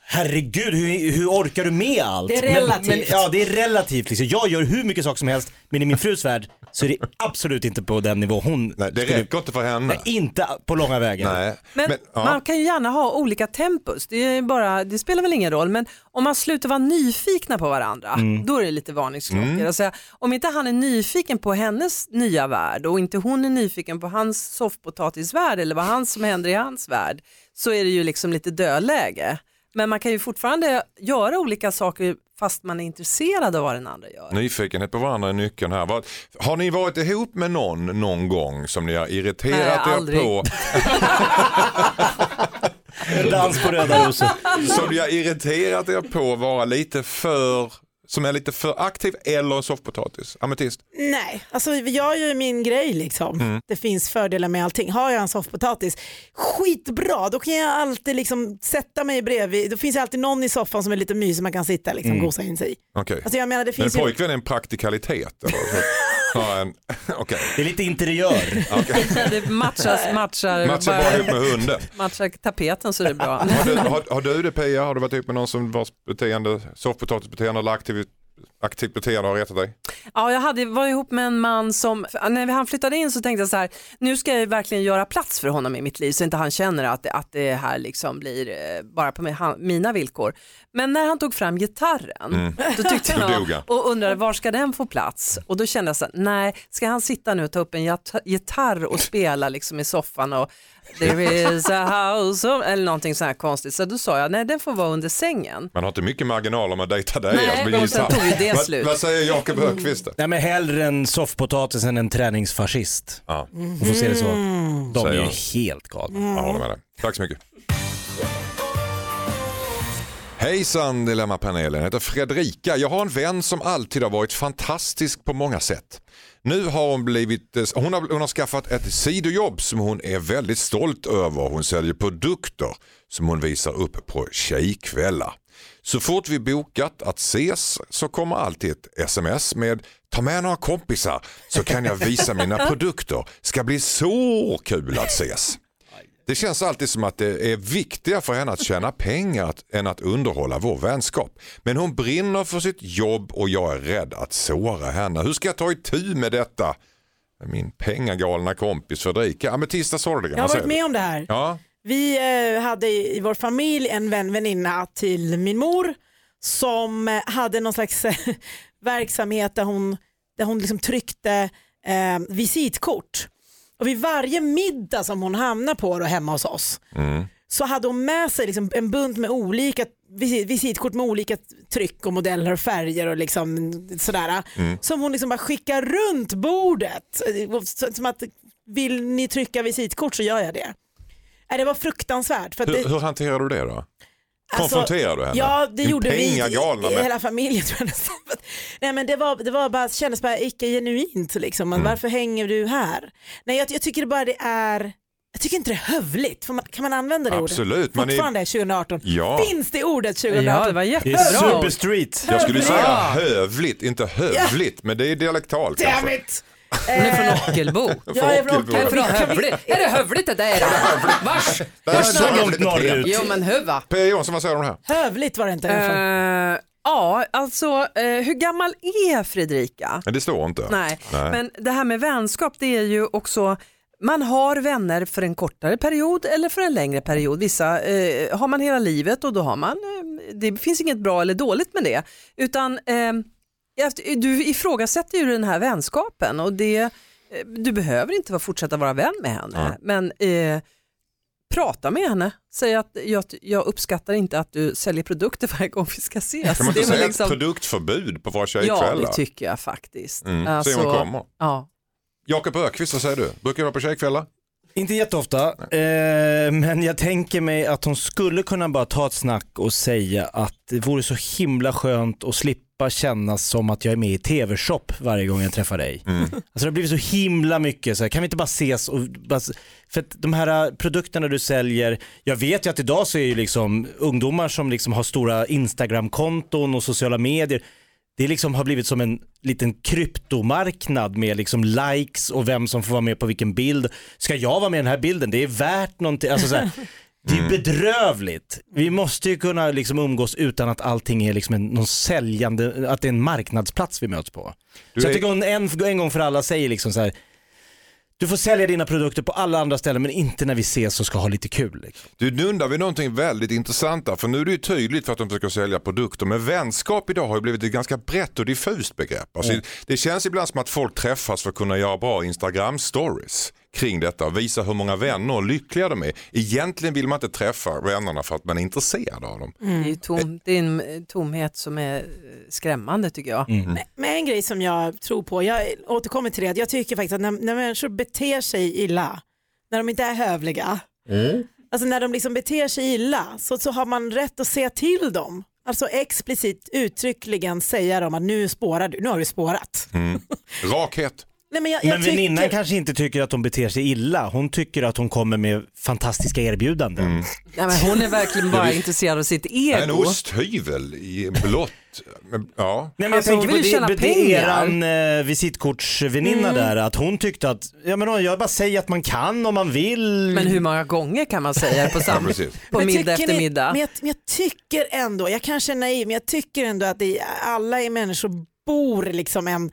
Speaker 5: herregud hur, hur orkar du med allt?
Speaker 9: Det är
Speaker 5: Men-
Speaker 9: relativt.
Speaker 5: Men, ja det är relativt liksom. Jag gör hur mycket saker som helst men i min frus värld så är det absolut inte på den nivå hon
Speaker 4: Nej, det
Speaker 5: skulle-
Speaker 4: räcker inte för henne.
Speaker 5: Nej, inte på långa vägar.
Speaker 4: Nej.
Speaker 10: Men,
Speaker 4: ja.
Speaker 10: man kan ju gärna ha olika tempus, det, är ju bara, det spelar väl ingen roll, men om man slutar vara nyfikna på varandra,
Speaker 11: Mm.
Speaker 10: då är det lite varningsklockor.
Speaker 11: Mm.
Speaker 10: Alltså, om inte han är nyfiken på hennes nya värld och inte hon är nyfiken på hans soffpotatisvärld eller vad han som händer i hans värld, så är det ju liksom lite dödläge. Men man kan ju fortfarande göra olika saker fast man är intresserad av vad den andra gör.
Speaker 4: Nyfikenhet på varandra är nyckeln här. Vad- Har ni varit ihop med någon någon gång som ni har irriterat
Speaker 10: Nej,
Speaker 4: er
Speaker 10: aldrig.
Speaker 4: på?
Speaker 5: Dans på röda rosor.
Speaker 4: Som ni har irriterat er på vara lite för, som är lite för aktiv eller en soffpotatis? Ametist?
Speaker 9: Nej, alltså jag gör ju min grej liksom.
Speaker 4: Mm.
Speaker 9: Det finns fördelar med allting. Har jag en soffpotatis, skitbra, då kan jag alltid liksom sätta mig bredvid. Då finns det alltid någon i soffan som är lite mysig man kan sitta liksom
Speaker 4: Mm.
Speaker 9: gosa in sig i.
Speaker 4: Okej.
Speaker 9: Alltså, jag menar, det finns
Speaker 4: Men
Speaker 9: ju-
Speaker 4: pojkvän är en praktikalitet? Eller? Ja, en, okej.
Speaker 5: Det är lite interiör.
Speaker 10: Det matchas, matchar,
Speaker 4: Matchar bara ihop med hunden.
Speaker 10: matchar tapeten så är det bra.
Speaker 4: Har du, har, har du det Pia? Har du varit ihop med någon som vars beteende, soffpotatisbeteende eller aktiv, Aktivt beteende har retat dig?
Speaker 10: Ja, jag hade, var ihop med en man som, för när han flyttade in så tänkte jag så här, nu ska jag verkligen göra plats för honom i mitt liv så inte han känner att, det- att det här liksom blir eh, bara på mig, han, mina villkor. Men när han tog fram gitarren,
Speaker 4: Mm.
Speaker 10: då tyckte
Speaker 4: Då
Speaker 10: han
Speaker 4: dog han.
Speaker 10: och undrade var ska den få plats? Och då kände jag så här, nej, ska han sitta nu och ta upp en jat- gitarr och spela liksom i soffan och there is a house of, eller någonting så här konstigt. Så då sa jag, nej den får vara under sängen.
Speaker 4: Man har inte mycket marginal om man dejtar dig.
Speaker 10: Nej,
Speaker 4: alltså, med
Speaker 10: då
Speaker 4: gitarr.
Speaker 10: tog ju det
Speaker 4: vad,
Speaker 10: slut. Mm.
Speaker 4: vad säger Jakob Högqvist då?
Speaker 5: Nej men hellre en soffpotatis än en träningsfascist.
Speaker 4: Ja.
Speaker 5: Om får se det så. De
Speaker 4: Säger
Speaker 5: är
Speaker 4: han.
Speaker 5: ju helt galna.
Speaker 9: Mm.
Speaker 4: Jag håller med dig. Tack så mycket. Hejsan Dilemmapanelen, jag heter Fredrika. Jag har en vän som alltid har varit fantastisk på många sätt. Nu har hon blivit, eh, hon har, hon har skaffat ett sidojobb som hon är väldigt stolt över. Hon säljer produkter som hon visar upp på tjejkvällar. Så fort vi bokat att ses så kommer alltid ett sms med ta med några kompisar så kan jag visa mina produkter. Ska bli så kul att ses. Det känns alltid som att det är viktigare för henne att tjäna pengar att- än att underhålla vår vänskap. Men hon brinner för sitt jobb och jag är rädd att såra henne. Hur ska jag ta itu med detta? Min pengagalna kompis Fredrika. Ja men tisdag sa du det kan
Speaker 9: Jag
Speaker 4: man
Speaker 9: har varit
Speaker 4: säga.
Speaker 9: med om det här.
Speaker 4: Ja,
Speaker 9: Vi eh, hade i i vår familj en vän, väninna till min mor som eh, hade någon slags eh, verksamhet där hon, där hon liksom tryckte eh, visitkort. Och vid varje middag som hon hamnade på då hemma hos oss så hade hon med sig liksom en bunt med olika visi- visitkort med olika tryck och modeller och färger och liksom sådär.
Speaker 4: Mm.
Speaker 9: Som hon liksom bara skickar runt bordet. Så- Som att vill ni trycka visitkort så gör jag det. Nej, Det var fruktansvärt. För att det,
Speaker 4: hur, hur hanterar du det då?
Speaker 9: Alltså,
Speaker 4: Konfronterar du henne?
Speaker 9: Ja, det
Speaker 4: Din
Speaker 9: gjorde vi
Speaker 4: pengagalna
Speaker 9: i, i
Speaker 4: med-
Speaker 9: hela familjen. Tror jag nästan. Nej, men det, var, det var bara, kändes bara icke-genuint. Liksom.
Speaker 4: Mm.
Speaker 9: Men Varför hänger du här? Nej, jag, jag tycker bara det är jag tycker inte det är hövligt. Får man, kan man använda det
Speaker 4: Absolut,
Speaker 9: ordet?
Speaker 4: man är-
Speaker 9: Fortfarande 2018.
Speaker 4: Ja.
Speaker 9: Finns det ordet
Speaker 10: Ja, det
Speaker 9: 2018?
Speaker 10: var
Speaker 5: Det är
Speaker 10: jättebra.
Speaker 5: superstreet.
Speaker 4: Jag skulle säga
Speaker 9: Ja.
Speaker 4: hövligt, inte hövligt, men det är dialektalt alltså.
Speaker 9: Damn
Speaker 4: kanske.
Speaker 9: it!
Speaker 10: Hon är från Ockelbo.
Speaker 9: Jag är från
Speaker 4: Ockelbo.
Speaker 9: Ockelbo.
Speaker 10: Vadå hövligt? Är det hövligt det där? Vars?
Speaker 4: Det här är
Speaker 5: Så
Speaker 4: bara
Speaker 5: långt
Speaker 4: lite pet.
Speaker 5: norrut.
Speaker 10: Jo men huva.
Speaker 4: P. Jonsson, vad säger du om det här?
Speaker 9: Hövligt var det inte. i alla fall.
Speaker 10: Eh, ja, alltså eh, hur gammal är Fredrika?
Speaker 4: Men det står inte.
Speaker 10: Nej.
Speaker 4: Nej.
Speaker 10: men det här med vänskap det är ju också man har vänner för en kortare period eller för en längre period. Vissa eh, har man hela livet och då har man, eh, det finns inget bra eller dåligt med det. Utan eh, efter- du ifrågasätter ju den här vänskapen och det, eh, du behöver inte vara, fortsätta vara vän med henne. Men eh, prata med henne, säg att jag, jag uppskattar inte att du säljer produkter varje gång vi ska ses.
Speaker 4: Kan man inte
Speaker 10: Det är väl
Speaker 4: säga
Speaker 10: liksom-
Speaker 4: ett produktförbud på våra
Speaker 10: Ja,
Speaker 4: tjejkvällar?
Speaker 10: det tycker jag Alltså- faktiskt.
Speaker 4: Mm, se om hon kommer.
Speaker 10: Ja.
Speaker 4: Jakob Ökvist, vad säger du? Brukar du vara på tjejkvällar?
Speaker 5: Inte jätteofta, eh, men jag tänker mig att hon skulle kunna bara ta ett snack och säga att det vore så himla skönt att slippa kännas som att jag är med i tv-shop varje gång jag träffar dig. Alltså det har blivit så himla mycket så här, kan vi inte bara ses och bara, s- för att de här eh, produkterna du säljer, jag vet ju att idag så är ju liksom ungdomar som liksom har stora Instagram-konton och sociala medier, det liksom har blivit som en liten kryptomarknad med liksom likes och vem som får vara med på vilken bild. Ska jag vara med i den här bilden? Det är värt någonting. Alltså så här, det
Speaker 4: Mm.
Speaker 5: är bedrövligt. Vi måste ju kunna liksom umgås utan att allting är liksom en, någon säljande, att det är en marknadsplats vi möts på.
Speaker 4: Du
Speaker 5: så jag
Speaker 4: är-
Speaker 5: tycker hon en, en gång för alla säger liksom så här, du får sälja dina produkter på alla andra ställen men inte när vi ses och ska ha lite kul. Liksom.
Speaker 4: Du, nu undrar vi någonting väldigt intressant där, för nu är det ju tydligt för att de försöker sälja produkter, men vänskap idag har ju blivit ett ganska brett och diffust begrepp. Alltså,
Speaker 10: Mm.
Speaker 4: Det känns ibland som att folk träffas för att kunna göra bra Instagram-stories kring detta och visa hur många vänner och lyckliga de är. Egentligen vill man inte träffa vännerna för att man är intresserad av dem.
Speaker 10: Det
Speaker 9: Mm.
Speaker 10: är, ju tom, det är en eh, tomhet som är eh, skrämmande tycker jag.
Speaker 5: Mm.
Speaker 9: Men en grej som jag tror på, jag återkommer till det, att jag tycker faktiskt att när, när människor beter sig illa, när de inte är hövliga, alltså när de liksom beter sig illa, så, så har man rätt att säga till dem. Alltså explicit uttryckligen säga dem att nu spårar du, nu har du spårat.
Speaker 4: Rakhet.
Speaker 9: Nej, men jag, jag
Speaker 5: Men väninnan
Speaker 9: tycker-
Speaker 5: kanske inte tycker att hon beter sig illa. Hon tycker att hon kommer med fantastiska erbjudanden.
Speaker 8: Nej, men hon är verkligen bara intresserad av sitt ego.
Speaker 4: En osthyvel i blått. Men, Ja.
Speaker 5: Nej, men
Speaker 8: Alltså,
Speaker 5: jag
Speaker 8: hon
Speaker 5: tänker
Speaker 8: vill ju
Speaker 5: på
Speaker 8: tjäna
Speaker 5: det, det
Speaker 8: pengar.
Speaker 5: eran eh, visitkortsväninna
Speaker 8: Mm.
Speaker 5: där, att hon tyckte att, ja men jag bara säger att man kan om man vill.
Speaker 8: Men hur många gånger kan man säga på
Speaker 5: Ja,
Speaker 8: samma
Speaker 5: precis.
Speaker 8: på
Speaker 9: Men
Speaker 8: middag
Speaker 9: tycker
Speaker 8: efter
Speaker 9: ni-
Speaker 8: middag?
Speaker 9: Men jag, men jag tycker ändå, jag kanske är naiv, men jag tycker ändå att det, alla är människor bor liksom en,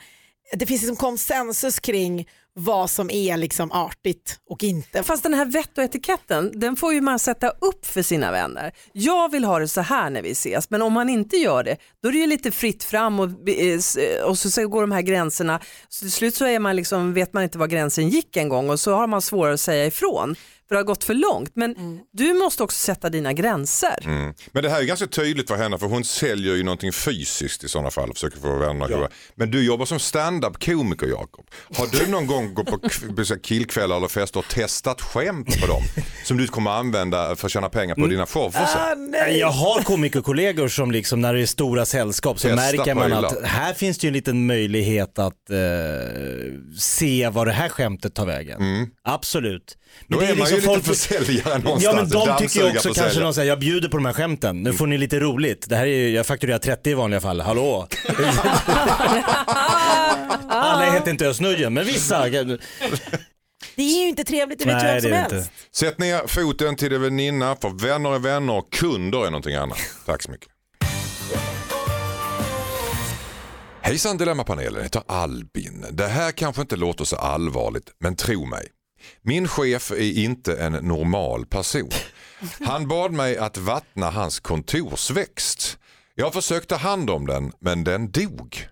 Speaker 9: det finns liksom konsensus kring vad som är liksom artigt och inte.
Speaker 10: Fast den här vett och etiketten, den får ju man sätta upp för sina vänner. Jag vill ha det så här när vi ses, men om man inte gör det, då är det ju lite fritt fram och, eh, s- och så- så går de här gränserna. Så till slut så är man liksom, vet man inte var gränsen gick en gång och så har man svårare att säga ifrån för det har gått för långt. Men
Speaker 9: Mm.
Speaker 10: du måste också sätta dina gränser.
Speaker 4: Mm. Men det här är ganska tydligt för henne för hon säljer ju någonting fysiskt i sådana fall. Försöker få vänner att jobba. Men du jobbar som stand-up komiker Jakob. Har du någon gång gått på k- på så här killkvällar eller fester och testat skämt på dem som du kommer använda för att tjäna pengar på dina shower? sen?
Speaker 5: Jag har komikerkollegor som liksom när det är stora sällskap så
Speaker 4: Testa
Speaker 5: märker man
Speaker 4: prylar.
Speaker 5: att här finns det ju en liten möjlighet att eh, se var det här skämtet tar vägen. Absolut.
Speaker 4: Mm. Då
Speaker 5: det liksom
Speaker 4: är man ju lite
Speaker 5: folk-
Speaker 4: försäljare
Speaker 5: Ja
Speaker 4: någonstans,
Speaker 5: men de tycker ju
Speaker 4: dammsugare
Speaker 5: också kanske
Speaker 4: försäljare.
Speaker 5: någon säger, jag bjuder på de här skämten, nu får ni lite roligt. Det här är ju, jag fakturerar 30 i vanliga fall, hallå? Alla heter inte Ösnöjen, men vissa.
Speaker 9: Det är ju inte trevligt, det vet ju vem som helst.
Speaker 4: Sätt ner foten till din väninna för vänner är vänner och kunder är någonting annat. Tack så mycket. Hejsan Dilemmapanelen, jag heter Albin. Det här kanske inte låter så allvarligt, men tro mig. Min chef är inte en normal person. Han bad mig att vattna hans kontorsväxt. Jag försökte ta hand om den, men den dog.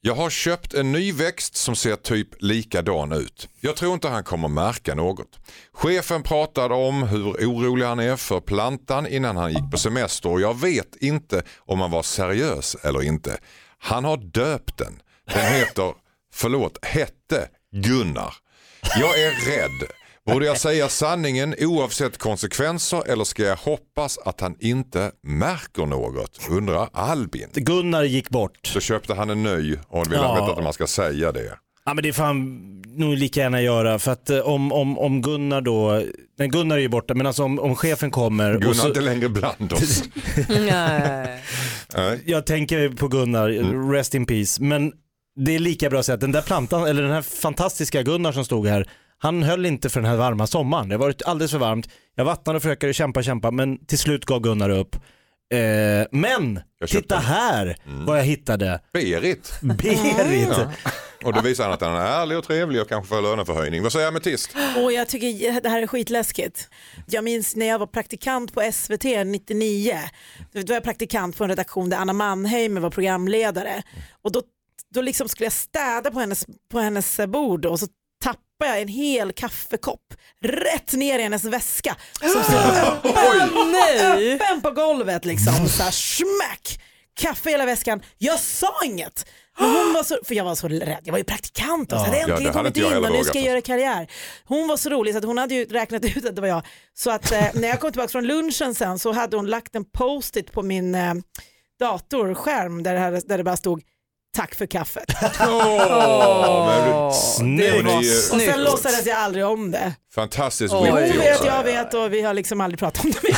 Speaker 4: Jag har köpt en ny växt som ser typ likadan ut. Jag tror inte han kommer märka något. Chefen pratade om hur orolig han är för plantan innan han gick på semester och jag vet inte om han var seriös eller inte. Han har döpt den. Den heter, förlåt, hette Gunnar. Jag är rädd. Borde jag säga sanningen oavsett konsekvenser eller ska jag hoppas att han inte märker något? Undrar Albin.
Speaker 5: Gunnar gick bort.
Speaker 4: Så köpte han en ny och vill
Speaker 5: Ja.
Speaker 4: han veta att man ska säga det.
Speaker 5: Ja men det får han nog lika gärna göra för att eh, om, om, om Gunnar då, nej Gunnar är ju borta men alltså om, om chefen kommer.
Speaker 4: Gunnar
Speaker 5: och så,
Speaker 4: är inte längre bland oss. Nej.
Speaker 5: Jag tänker på Gunnar, rest in peace. Men det är lika bra att säga att den där plantan, eller den här fantastiska Gunnar som stod här, han höll inte för den här varma sommaren. Det har varit alldeles för varmt. Jag vattnade och försökte kämpa, kämpa, men till slut gav Gunnar upp. Eh, men, titta här vad jag hittade.
Speaker 4: Berit.
Speaker 5: Berit.
Speaker 4: Ja. Och då visar han att han är ärlig och trevlig och kanske får löneförhöjning. Vad säger ametist?
Speaker 9: Och jag tycker det här är skitläskigt. Jag minns när jag var praktikant på SVT 99. Då var jag praktikant på en redaktion där Anna Mannheimer var programledare. Och då, då liksom skulle jag städa på hennes, på hennes bord och så tappade jag en hel kaffekopp rätt ner i hennes väska. Som stod öppen, öppen på golvet liksom. Så här, smack! Kaffe i hela väskan. Jag sa inget. Men hon var så, för jag var så rädd. Jag var ju praktikant och så
Speaker 11: Ja.
Speaker 9: hade
Speaker 11: Ja, det
Speaker 9: äntligen
Speaker 11: hade
Speaker 9: kommit
Speaker 11: inte jag
Speaker 9: in
Speaker 11: heller
Speaker 9: och nu
Speaker 11: vågat
Speaker 9: ska jag
Speaker 11: alltså.
Speaker 9: göra karriär. Hon var så rolig så att hon hade ju räknat ut att det var jag. Så att eh, när jag kom tillbaka från lunchen sen så hade hon lagt en post-it på min eh, datorskärm där det, här, där det bara stod Tack för kaffet.
Speaker 4: Åh, men du- Snyggt.
Speaker 9: Det var-
Speaker 4: Det är ju-
Speaker 9: Och sen låtsades jag aldrig om det.
Speaker 4: Fantastiskt
Speaker 9: Hon
Speaker 4: witty
Speaker 9: vet, jag
Speaker 4: också.
Speaker 9: vet och vi har liksom aldrig pratat om det mer.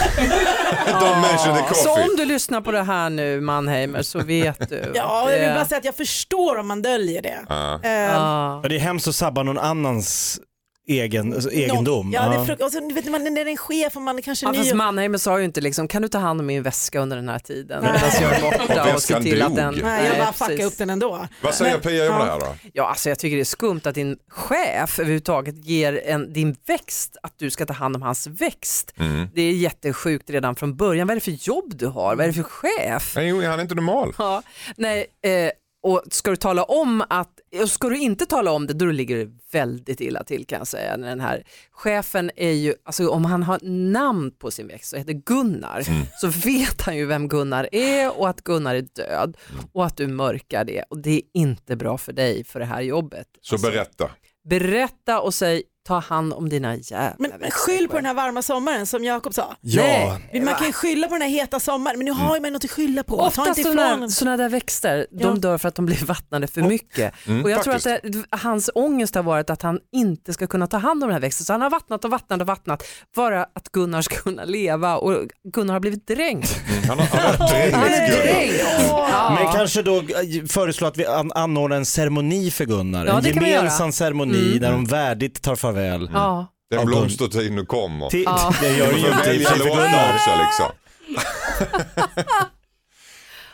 Speaker 4: Don't mention the
Speaker 10: Så
Speaker 4: coffee.
Speaker 10: om du lyssnar på det här nu Mannheimer så vet du.
Speaker 9: Ja, jag vill
Speaker 10: Det-
Speaker 9: bara säga att jag förstår om man döljer det.
Speaker 5: Ja.
Speaker 9: Ehm,
Speaker 5: Ja, det är hemskt att sabba någon annans egen, alltså, egendom.
Speaker 9: någon- Ja, det är
Speaker 5: Ja.
Speaker 9: frukt- och sen, vet man, när det är en chef och man är kanske
Speaker 10: Ja,
Speaker 9: ny.
Speaker 10: fast Mannheimer sa ju inte liksom, kan du ta hand om min väska under den här tiden? Medan jag är borta och se
Speaker 4: väskan
Speaker 10: till att
Speaker 4: dog.
Speaker 10: den...
Speaker 4: Nej,
Speaker 9: Nej, jag bara
Speaker 10: precis.
Speaker 9: fuckar upp den ändå.
Speaker 4: Vad säger
Speaker 9: Men-
Speaker 4: Pia om
Speaker 9: ja.
Speaker 4: det här då?
Speaker 10: Ja, alltså jag tycker det är skumt att din chef överhuvudtaget ger en, din växt att du ska ta hand om hans växt.
Speaker 4: Mm.
Speaker 10: Det är jättesjukt redan från början. Vad är det för jobb du har? Vad är det för chef?
Speaker 4: Nej, jo, han är inte normal.
Speaker 10: Ja, nej, eh, och ska du tala om att, och ska du inte tala om det, då ligger det väldigt illa till kan jag säga. När Den här chefen är ju, alltså om han har namn på sin växt och heter Gunnar, så vet han ju vem Gunnar är och att Gunnar är död och att du mörkar det. Och det är inte bra för dig för det här jobbet.
Speaker 4: Så berätta.
Speaker 10: Berätta och säg, Ta hand om dina jävla
Speaker 9: Men, men skyll på den här varma sommaren som Jakob sa.
Speaker 10: Ja.
Speaker 9: Nej. Man kan ju skylla på den här heta sommaren, men nu
Speaker 4: Mm.
Speaker 9: har ju man något att skylla på. Ta
Speaker 10: Ofta
Speaker 9: inte ifrån.
Speaker 10: sådana, sådana där växter,
Speaker 9: Ja.
Speaker 10: de dör för att de blir vattnade för mycket.
Speaker 9: Mm,
Speaker 10: och jag tror att
Speaker 9: faktiskt.
Speaker 10: det, hans ångest har varit att han inte ska kunna ta hand om den här växten. Så han har vattnat och vattnat och vattnat. Bara att Gunnar ska kunna leva och Gunnar har blivit dränkt.
Speaker 9: Mm.
Speaker 4: Han har, han har
Speaker 10: Han är dränkt. Ja.
Speaker 5: Men kanske då eh, föreslå att vi an- anordnar en ceremoni för Gunnar.
Speaker 10: Ja,
Speaker 5: en
Speaker 10: det kan vi
Speaker 5: gemensam
Speaker 10: göra.
Speaker 5: ceremoni
Speaker 10: Mm.
Speaker 5: där de värdigt tar farväl.
Speaker 10: Ja.
Speaker 4: Den blomstertid nu kommer.
Speaker 5: Till- Ja. det gör
Speaker 4: Du
Speaker 5: det ju
Speaker 4: får
Speaker 5: inte i
Speaker 4: välja
Speaker 5: och för sig för
Speaker 4: låtar
Speaker 5: Gunnar.
Speaker 4: typ också liksom.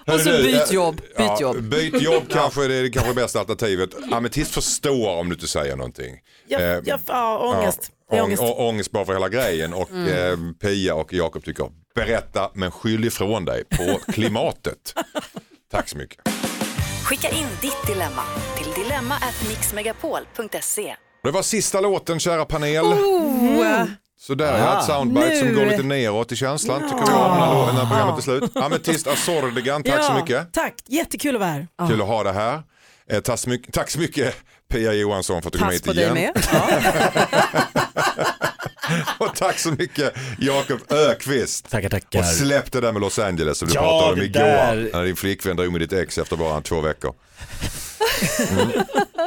Speaker 10: Och så
Speaker 4: Hörru,
Speaker 10: byt
Speaker 4: eh,
Speaker 10: jobb, byt
Speaker 4: ja,
Speaker 10: jobb.
Speaker 4: Byt jobb kanske är det kanske bästa alternativet. Ametist förstår om du inte säger någonting.
Speaker 9: Ja,
Speaker 4: Eh,
Speaker 9: ja, ja, ångest. Det är
Speaker 4: Ja, ång,
Speaker 9: ångest. Mm.
Speaker 4: å- ångest bara för hela grejen och eh, Pia och Jakob tycker berätta men skyll ifrån dig på klimatet. Tack så mycket.
Speaker 7: Skicka in ditt dilemma till dilemma@mixmegapol.se.
Speaker 4: Det var sista låten kära panel.
Speaker 9: Oh.
Speaker 7: Mm.
Speaker 4: Så där ja,
Speaker 7: Ah,
Speaker 4: ett soundbite som
Speaker 7: nu.
Speaker 4: går lite neråt i känslan tycker vi om när, lå- när programmet är slut. Ametist Azordegan, tack så
Speaker 9: Ja,
Speaker 4: mycket.
Speaker 9: Tack, jättekul att vara här.
Speaker 4: Kul att ha det här. Eh, tack, så mycket, tack så mycket Pia Johansson för att du kom
Speaker 9: Pass
Speaker 4: hit
Speaker 9: på dig
Speaker 4: igen.
Speaker 9: med.
Speaker 4: Och tack så mycket Jakob Ökvist.
Speaker 5: Tackar, tackar.
Speaker 4: Och släpp det där med Los Angeles som du
Speaker 5: Ja,
Speaker 4: pratade om
Speaker 5: det
Speaker 4: igår.
Speaker 5: där.
Speaker 4: När din flickvän drog med ditt ex efter bara två veckor. Mm.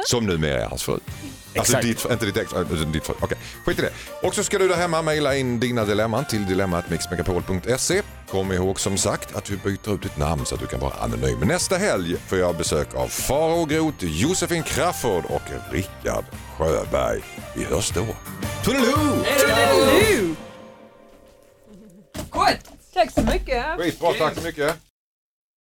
Speaker 4: Som numera är hans fru. Alltså
Speaker 12: Exakt.
Speaker 4: ditt, inte ditt ex, äh, ditt fru. Okej, skit i det. Och så ska du där hemma mejla in dina dilemman till dilemmatmixmegapol.se. Kom ihåg som sagt att du byter ut ditt namn så att du kan vara anonym. Nästa helg får jag besök av Faro Groth, Josefin Crafoord och Rickard Sjöberg. Vi hörs då. Toodaloo!
Speaker 6: Toodaloo! Gott! Tack så mycket.
Speaker 4: Skitbra, tack så mycket.